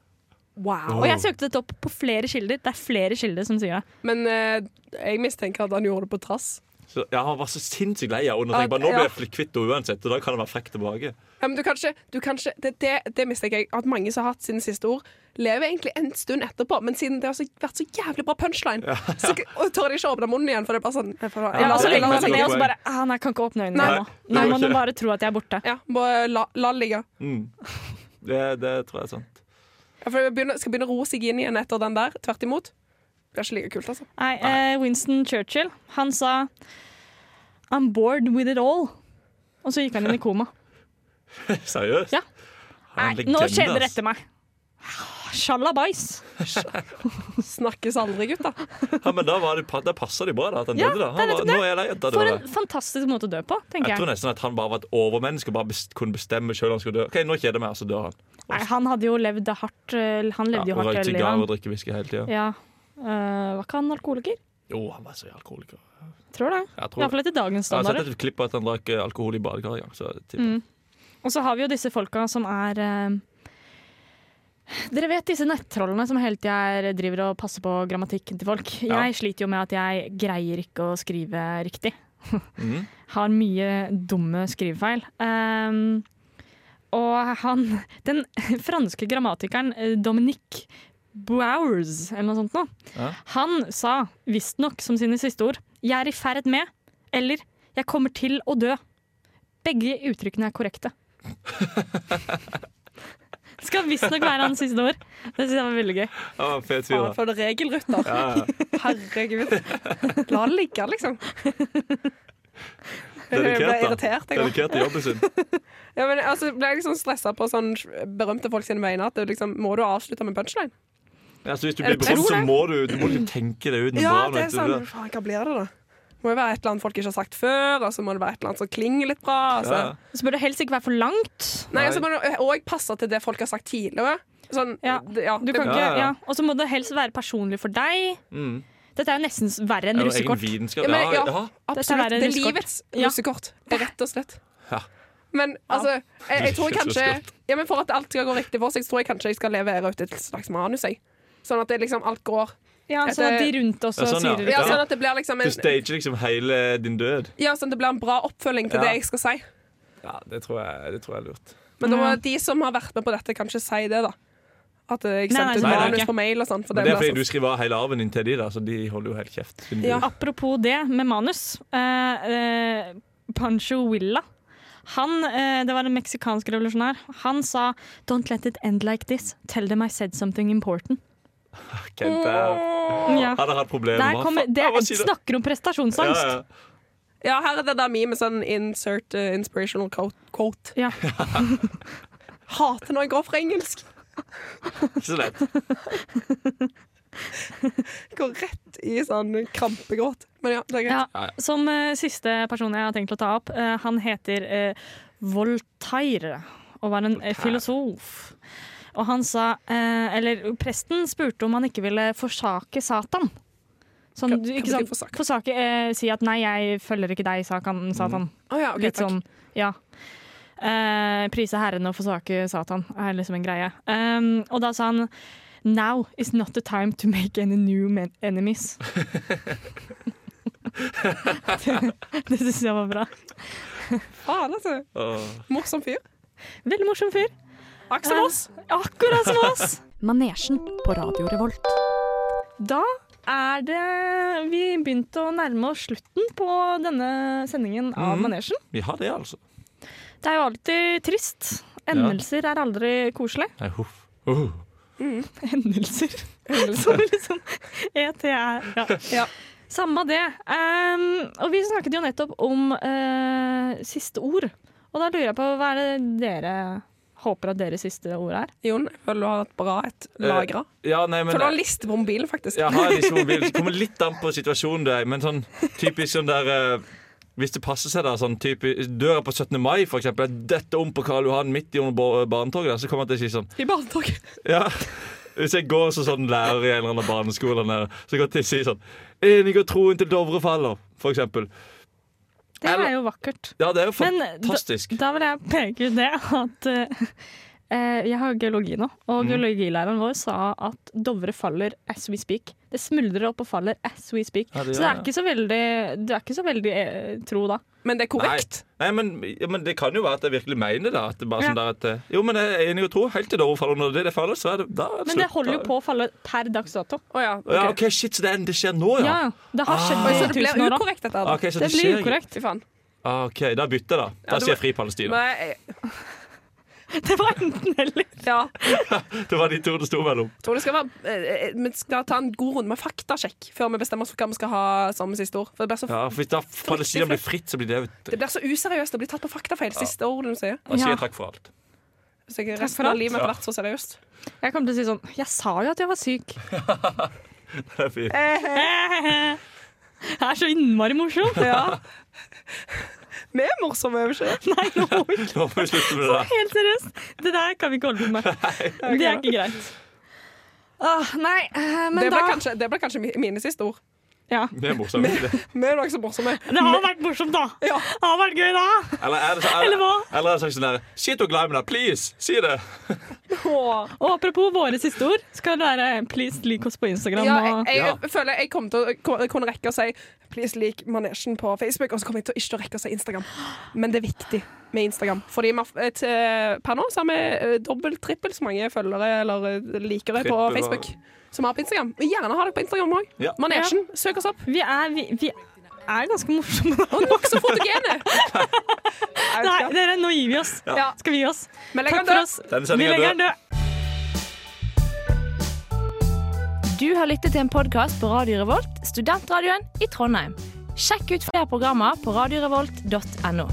[SPEAKER 4] Wow.
[SPEAKER 5] Og jeg søkte dette opp på flere kilder. Det er flere kilder som sier det.
[SPEAKER 4] Men eh, jeg mistenker at han gjorde det på trass.
[SPEAKER 2] Så jeg har vært så sinnssykt lei av henne. og tenkte bare, Nå
[SPEAKER 4] Ja.
[SPEAKER 2] blir jeg kvitt henne uansett, og da kan jeg være frekk tilbake.
[SPEAKER 4] Ja, men du kan ikke, du kan ikke det, det, det mistenker jeg at mange som har hatt sine siste ord, lever egentlig en stund etterpå, men siden det har så, vært så jævlig bra punchline, så k- og tør de ikke åpne munnen igjen, for det er bare sånn jeg får-
[SPEAKER 5] Ja,
[SPEAKER 4] la-
[SPEAKER 5] og så
[SPEAKER 2] det er
[SPEAKER 5] legger man
[SPEAKER 2] et
[SPEAKER 5] seg
[SPEAKER 2] veldig
[SPEAKER 5] ned og
[SPEAKER 2] godt
[SPEAKER 5] så bare ah, Nei, jeg kan ikke åpne øynene
[SPEAKER 4] Nei.
[SPEAKER 5] nå.
[SPEAKER 2] Nei,
[SPEAKER 5] Nå
[SPEAKER 2] det
[SPEAKER 5] må
[SPEAKER 2] går
[SPEAKER 5] du
[SPEAKER 2] ikke.
[SPEAKER 5] bare tro at jeg er borte.
[SPEAKER 4] ja, bare la, la det ligge.
[SPEAKER 2] Mm. Det, det tror jeg er sant.
[SPEAKER 4] Ja, for jeg begynner, skal begynne å roe seg inn igjen etter den der, tvert imot. Det er ikke like kult, altså.
[SPEAKER 5] Nei, eh, Winston Churchill, han sa I'm bored with it all. Og så gikk han inn i koma.
[SPEAKER 2] Seriøst?
[SPEAKER 5] Ja.
[SPEAKER 2] Han er
[SPEAKER 5] Nei,
[SPEAKER 2] en
[SPEAKER 5] nå
[SPEAKER 2] legende,
[SPEAKER 5] skjer det Ah,
[SPEAKER 2] ass.
[SPEAKER 5] etter meg. Sjalabais.
[SPEAKER 4] Snakkes aldri, gutta.
[SPEAKER 2] Ja, men da, var det, pa- da passer det bra da, at han
[SPEAKER 5] Ja,
[SPEAKER 2] døde.
[SPEAKER 5] det er
[SPEAKER 2] da han var,
[SPEAKER 5] nettopp
[SPEAKER 2] Nå er jeg lei at han
[SPEAKER 5] For
[SPEAKER 2] døde.
[SPEAKER 5] en fantastisk måte å dø på, tenker
[SPEAKER 2] Jeg tror
[SPEAKER 5] jeg.
[SPEAKER 2] nesten at han bare var et overmenneske og bare best, kunne bestemme sjøl om han skulle dø. Ok, nå kjeder jeg meg, og så dør han.
[SPEAKER 5] Nei, han hadde jo levd det hardt. eh, Han
[SPEAKER 2] Ja,
[SPEAKER 5] levde jo
[SPEAKER 2] og
[SPEAKER 5] hardt
[SPEAKER 2] Røykte
[SPEAKER 5] hele
[SPEAKER 2] sigarer og
[SPEAKER 5] livet.
[SPEAKER 2] drikke whisky hele tida.
[SPEAKER 5] han. Ja. Eh, var ikke han alkoholiker?
[SPEAKER 2] Jo, han var så alkoholiker.
[SPEAKER 5] Tror det.
[SPEAKER 2] Jeg tror det. altså,
[SPEAKER 5] Iallfall etter dagens
[SPEAKER 2] Jeg har sett
[SPEAKER 5] standarder.
[SPEAKER 2] et klipp av at han drakk eh, alkohol i badekar en gang. Så jeg tipper.
[SPEAKER 5] Mm. Og så har vi jo disse folka som er eh, Dere vet disse nettrollene som hele tida driver og passer på grammatikken til folk.
[SPEAKER 2] Ja.
[SPEAKER 5] Jeg sliter jo med at jeg greier ikke å skrive riktig.
[SPEAKER 2] Mhm.
[SPEAKER 5] Har mye dumme skrivefeil. Ehm, og han Den franske grammatikeren eh, Dominique Bowers, eller noe sånt noe,
[SPEAKER 2] Ja.
[SPEAKER 5] han sa visstnok som sine siste ord 'Jeg er i ferd med' eller 'Jeg kommer til å dø'. Begge uttrykkene er korrekte. Det skal visstnok være hans siste ord. Det synes jeg var veldig gøy.
[SPEAKER 2] Han var en fet fyr,
[SPEAKER 4] Ja,
[SPEAKER 2] da.
[SPEAKER 4] for det er regelrytter.
[SPEAKER 2] Ja, ja.
[SPEAKER 4] Herregud. La det ligge, liksom. Jeg ble
[SPEAKER 2] Dedikert, da.
[SPEAKER 4] irritert, jeg. nå.
[SPEAKER 2] Dedikert til jobben sin.
[SPEAKER 4] Ja, men altså, ble jeg liksom stressa på sånn berømte folk sine vegne at det liksom, må du avslutte med punchline?
[SPEAKER 2] Ja, så hvis du
[SPEAKER 4] Jeg
[SPEAKER 2] blir
[SPEAKER 4] tror
[SPEAKER 2] berømt, så
[SPEAKER 4] det.
[SPEAKER 2] må du, du må liksom tenke deg ut.
[SPEAKER 4] Ja,
[SPEAKER 2] bra,
[SPEAKER 4] det
[SPEAKER 2] vet
[SPEAKER 4] er
[SPEAKER 2] du.
[SPEAKER 4] sånn Faen, hva blir det, da? Må jo være et eller annet folk ikke har sagt før, og så må det være et eller annet som klinger litt bra. og
[SPEAKER 2] Ja.
[SPEAKER 4] så-
[SPEAKER 5] Så bør det helst ikke være for langt.
[SPEAKER 4] Nei, altså, og så må det òg passe til det folk har sagt tidligere. Sånn,
[SPEAKER 5] Ja.
[SPEAKER 4] det- ja,
[SPEAKER 5] Du
[SPEAKER 4] det-
[SPEAKER 5] kan
[SPEAKER 2] Ja,
[SPEAKER 5] ikke,
[SPEAKER 2] ja,
[SPEAKER 5] ja.
[SPEAKER 2] ja.
[SPEAKER 5] Og så må det helst være personlig for deg.
[SPEAKER 2] Mm.
[SPEAKER 5] Dette er jo nesten verre enn
[SPEAKER 2] Er det egen
[SPEAKER 5] russekort.
[SPEAKER 2] vitenskap?
[SPEAKER 4] Ja, men,
[SPEAKER 2] Ja,
[SPEAKER 4] ja.
[SPEAKER 5] Dette
[SPEAKER 2] ja.
[SPEAKER 5] er
[SPEAKER 4] Absolutt. Det
[SPEAKER 5] verre
[SPEAKER 4] er
[SPEAKER 5] enn russekort.
[SPEAKER 4] livets
[SPEAKER 5] Ja.
[SPEAKER 4] russekort, rett og slett.
[SPEAKER 2] Ja.
[SPEAKER 4] Men altså, jeg, jeg tror
[SPEAKER 2] Livets
[SPEAKER 4] kanskje
[SPEAKER 2] russekort.
[SPEAKER 4] ja, men For at alt skal gå riktig for seg, så tror jeg kanskje jeg skal levere ut et slags manus. Jeg. Sånn at det liksom alt går
[SPEAKER 5] Ja,
[SPEAKER 4] Dette-
[SPEAKER 5] sånn at de rundt også
[SPEAKER 2] Ja, sånn, ja.
[SPEAKER 5] sier det.
[SPEAKER 4] Ja,
[SPEAKER 2] Ja.
[SPEAKER 4] sånn at det blir liksom
[SPEAKER 2] Du
[SPEAKER 4] en,
[SPEAKER 2] stager liksom hele din død.
[SPEAKER 4] ja, sånn at det blir en bra oppfølging til
[SPEAKER 2] Ja.
[SPEAKER 4] det jeg skal si.
[SPEAKER 2] Ja, det tror jeg, det tror jeg er lurt.
[SPEAKER 4] Men da må
[SPEAKER 5] Ja.
[SPEAKER 4] de som har vært med på dette, kanskje si det, da. At eh, jeg
[SPEAKER 5] Nei,
[SPEAKER 4] sendte
[SPEAKER 5] nei,
[SPEAKER 4] ut
[SPEAKER 2] nei, nei,
[SPEAKER 4] manus
[SPEAKER 5] ikke.
[SPEAKER 4] på mail og sånn. For
[SPEAKER 2] Men
[SPEAKER 4] det
[SPEAKER 2] det er
[SPEAKER 4] blir
[SPEAKER 2] fordi du skriver av hele arven din til de, da, så de holder jo helt kjeft. siden du-
[SPEAKER 4] Ja.
[SPEAKER 5] Apropos det med manus. Eh, eh, Pancho Villa. Han, eh, det var en meksikansk revolusjonær. Han sa 'Don't let it end like this. Tell them I said something important'.
[SPEAKER 2] Kent, eh,
[SPEAKER 5] Ja.
[SPEAKER 2] Han har hatt problemer.
[SPEAKER 5] Der
[SPEAKER 2] Hva
[SPEAKER 5] kommer,
[SPEAKER 2] faen?
[SPEAKER 5] det
[SPEAKER 2] Ja, hva sier du?
[SPEAKER 5] snakker om prestasjonsangst.
[SPEAKER 2] Ja, ja.
[SPEAKER 4] sånn- ja, her er det der meme med sånn insert eh, inspirational quote. quote.
[SPEAKER 5] Ja.
[SPEAKER 4] Hater når jeg går for engelsk.
[SPEAKER 2] Ikke så lett.
[SPEAKER 4] Går rett i sånn krampegråt. Men ja, det er greit.
[SPEAKER 5] Ja, som eh, siste person jeg har tenkt å ta opp, eh, han heter eh, Voltaire og var en eh, filosof. Og han sa eh, Eller presten spurte om han ikke ville forsake Satan. Sånn,
[SPEAKER 4] Hva-
[SPEAKER 5] du-
[SPEAKER 4] hva
[SPEAKER 5] ikke
[SPEAKER 4] betyr
[SPEAKER 5] sant?
[SPEAKER 4] forsake?
[SPEAKER 5] Forsake, eh, Si at 'nei, jeg følger ikke deg, Satan'. Satan.
[SPEAKER 4] Å ja, ok,
[SPEAKER 5] Litt
[SPEAKER 4] takk.
[SPEAKER 5] sånn, ja. Eh, prise Herren og forsake Satan er liksom en greie. Um, og da sa han Now is not the time to make any new men enemies. det det syns jeg var bra.
[SPEAKER 4] Faen, altså.
[SPEAKER 2] Åh.
[SPEAKER 4] Morsom fyr.
[SPEAKER 5] Veldig morsom fyr.
[SPEAKER 4] Aksel Aas.
[SPEAKER 5] Akkurat som oss!
[SPEAKER 8] Manesjen på Radio Revolt.
[SPEAKER 5] Da er det Vi begynte å nærme oss slutten på denne sendingen av
[SPEAKER 4] Mm.
[SPEAKER 2] Mhm.
[SPEAKER 5] Manesjen.
[SPEAKER 2] Vi har det, altså.
[SPEAKER 5] Det er jo alltid trist. Endelser er aldri koselig.
[SPEAKER 2] Nei, huff. Uh.
[SPEAKER 5] Hendelser. Som er liksom ET er. Ja.
[SPEAKER 4] Ja.
[SPEAKER 5] Samme det. Ehm, og vi snakket jo nettopp om eh, siste ord. Og da lurer jeg på hva er det dere Håper at deres siste ord er
[SPEAKER 4] Jon, jeg føler du har et bra et lagra.
[SPEAKER 2] Ja, nei, Eh, men
[SPEAKER 4] Føler du har liste på mobilen, faktisk.
[SPEAKER 2] Jeg har liksom mobil. Det kommer litt an på situasjonen du er i, men sånn typisk sånn der eh, Hvis det passer seg, da. Sånn typisk Døra på 17. mai, for eksempel. er Dette om på Karl Johan midt i under ba- barnetoget, da, så kommer jeg til å si sånn
[SPEAKER 4] I barnetoget.
[SPEAKER 2] Ja. Hvis jeg går som sånn lærer i en eller annen barneskole, eller noe, så kan jeg til å si sånn Enig og troen til Dovre faller, for eksempel.
[SPEAKER 5] Det
[SPEAKER 2] Eller-
[SPEAKER 5] er jo vakkert.
[SPEAKER 2] Ja, det er jo
[SPEAKER 5] Men eh,
[SPEAKER 2] fantastisk.
[SPEAKER 5] Da vil jeg peke ut det at eh, eh, jeg har geologi nå,
[SPEAKER 2] Mm.
[SPEAKER 5] og geologilæreren vår sa at Dovre faller as we speak. Det smuldrer opp og faller as we speak.
[SPEAKER 2] Ja, det
[SPEAKER 5] så
[SPEAKER 2] gjør
[SPEAKER 5] det er
[SPEAKER 2] det.
[SPEAKER 5] ikke så veldig, du er ikke så veldig eh, tro da.
[SPEAKER 4] Men det er korrekt.
[SPEAKER 2] Nei, men, ja, men det kan jo være at jeg virkelig mener det. At det bare
[SPEAKER 5] Ja.
[SPEAKER 2] sånn der at eh, Jo, men jeg er enig og tro. Helt til Dovre faller under det det faller, så er det da er
[SPEAKER 5] Men det
[SPEAKER 2] slutt.
[SPEAKER 5] holder jo
[SPEAKER 2] Da-
[SPEAKER 5] på å falle per dags dato.
[SPEAKER 4] Å ja. ok.
[SPEAKER 2] Ja, OK, shit, så det, er- det skjer nå,
[SPEAKER 5] Ja, det har skjedd
[SPEAKER 4] Oi,
[SPEAKER 5] i
[SPEAKER 4] så det blir
[SPEAKER 5] tusen år. da.
[SPEAKER 4] ukorrekt, dette. her,
[SPEAKER 2] Ah, Ok,
[SPEAKER 5] Det
[SPEAKER 2] så det
[SPEAKER 5] blir
[SPEAKER 2] skjer ikke.
[SPEAKER 5] ukorrekt.
[SPEAKER 4] Fy faen.
[SPEAKER 2] Ah, OK, da bytter jeg, da.
[SPEAKER 4] Ja,
[SPEAKER 2] Da sier
[SPEAKER 4] det var-
[SPEAKER 2] jeg fri Palestina.
[SPEAKER 4] Men jeg-
[SPEAKER 5] Det var enten eller.
[SPEAKER 4] ja.
[SPEAKER 2] Det var de to det sto mellom.
[SPEAKER 4] tror det skal være eh, eh, Vi skal ta en god runde med faktasjekk før vi bestemmer oss for hva vi skal ha som siste ord. For det blir så,
[SPEAKER 2] Ja, for Hvis da Palestina blir fritt, så blir det
[SPEAKER 4] det blir så useriøst å bli tatt på faktafeil siste ordet du sier.
[SPEAKER 2] Da sier
[SPEAKER 5] Ja.
[SPEAKER 2] jeg takk for alt.
[SPEAKER 4] Så jeg,
[SPEAKER 5] Takk for
[SPEAKER 4] resten av
[SPEAKER 5] alt.
[SPEAKER 4] livet mitt har vært så seriøst.
[SPEAKER 5] Jeg kommer til å si sånn Jeg sa jo at jeg var syk.
[SPEAKER 2] Det er fint.
[SPEAKER 5] Det er så innmari morsomt.
[SPEAKER 4] Vi er morsomme, er vi ikke?
[SPEAKER 5] Nei, nå må vi
[SPEAKER 2] Nå må vi slutte med det der.
[SPEAKER 5] Helt seriøst. Det der kan vi ikke holde på med. Det er ikke greit. Åh, nei, eh, men
[SPEAKER 4] Det
[SPEAKER 5] da
[SPEAKER 4] blir kanskje, det blir kanskje mi- mine siste ord.
[SPEAKER 5] ja.
[SPEAKER 2] Det er morsomt.
[SPEAKER 4] Vi er jo også morsomme.
[SPEAKER 5] Det har vært morsomt, da.
[SPEAKER 4] Ja.
[SPEAKER 5] Det har vært gøy, da.
[SPEAKER 2] Eller er det så, eller,
[SPEAKER 5] Eller hva?
[SPEAKER 2] eller er det sånn der Shit, du er glad i meg, please! Si det!
[SPEAKER 4] Åh.
[SPEAKER 5] Og apropos våre siste ord, skal det være please lik oss på Instagram.
[SPEAKER 4] Ja,
[SPEAKER 5] og,
[SPEAKER 4] jeg, jeg
[SPEAKER 2] Ja.
[SPEAKER 4] føler jeg kommer til å ko- kunne rekke å si 'please lik manesjen' på Facebook, og så kommer jeg til å ikke rekke å si Instagram. Men det er viktig med Instagram. Fordi vi har f- et, eh, per nå så har vi eh, dobbelt, trippelt så mange følgere eller eh, likere på
[SPEAKER 2] Trippel og-
[SPEAKER 4] Facebook som vi har på Instagram. Vi gjerne har dere på Instagram òg.
[SPEAKER 2] Ja.
[SPEAKER 4] Manesjen, søk oss opp.
[SPEAKER 5] vi, er, vi, vi er ganske morsomme.
[SPEAKER 4] Og nokså fotogene! Jeg vet
[SPEAKER 5] Nei,
[SPEAKER 4] ikke.
[SPEAKER 5] dere, nå gir vi oss.
[SPEAKER 4] Ja.
[SPEAKER 5] Skal vi gi oss?
[SPEAKER 4] Men legg
[SPEAKER 5] Takk
[SPEAKER 4] den
[SPEAKER 5] for
[SPEAKER 4] død.
[SPEAKER 5] oss.
[SPEAKER 2] Denne
[SPEAKER 5] Vi
[SPEAKER 2] sendingen er
[SPEAKER 5] legger
[SPEAKER 2] død.
[SPEAKER 5] den død.
[SPEAKER 10] Du har lyttet til en podkast på Radio Revolt, studentradioen i Trondheim. Sjekk ut flere programmer på radiorevolt.no.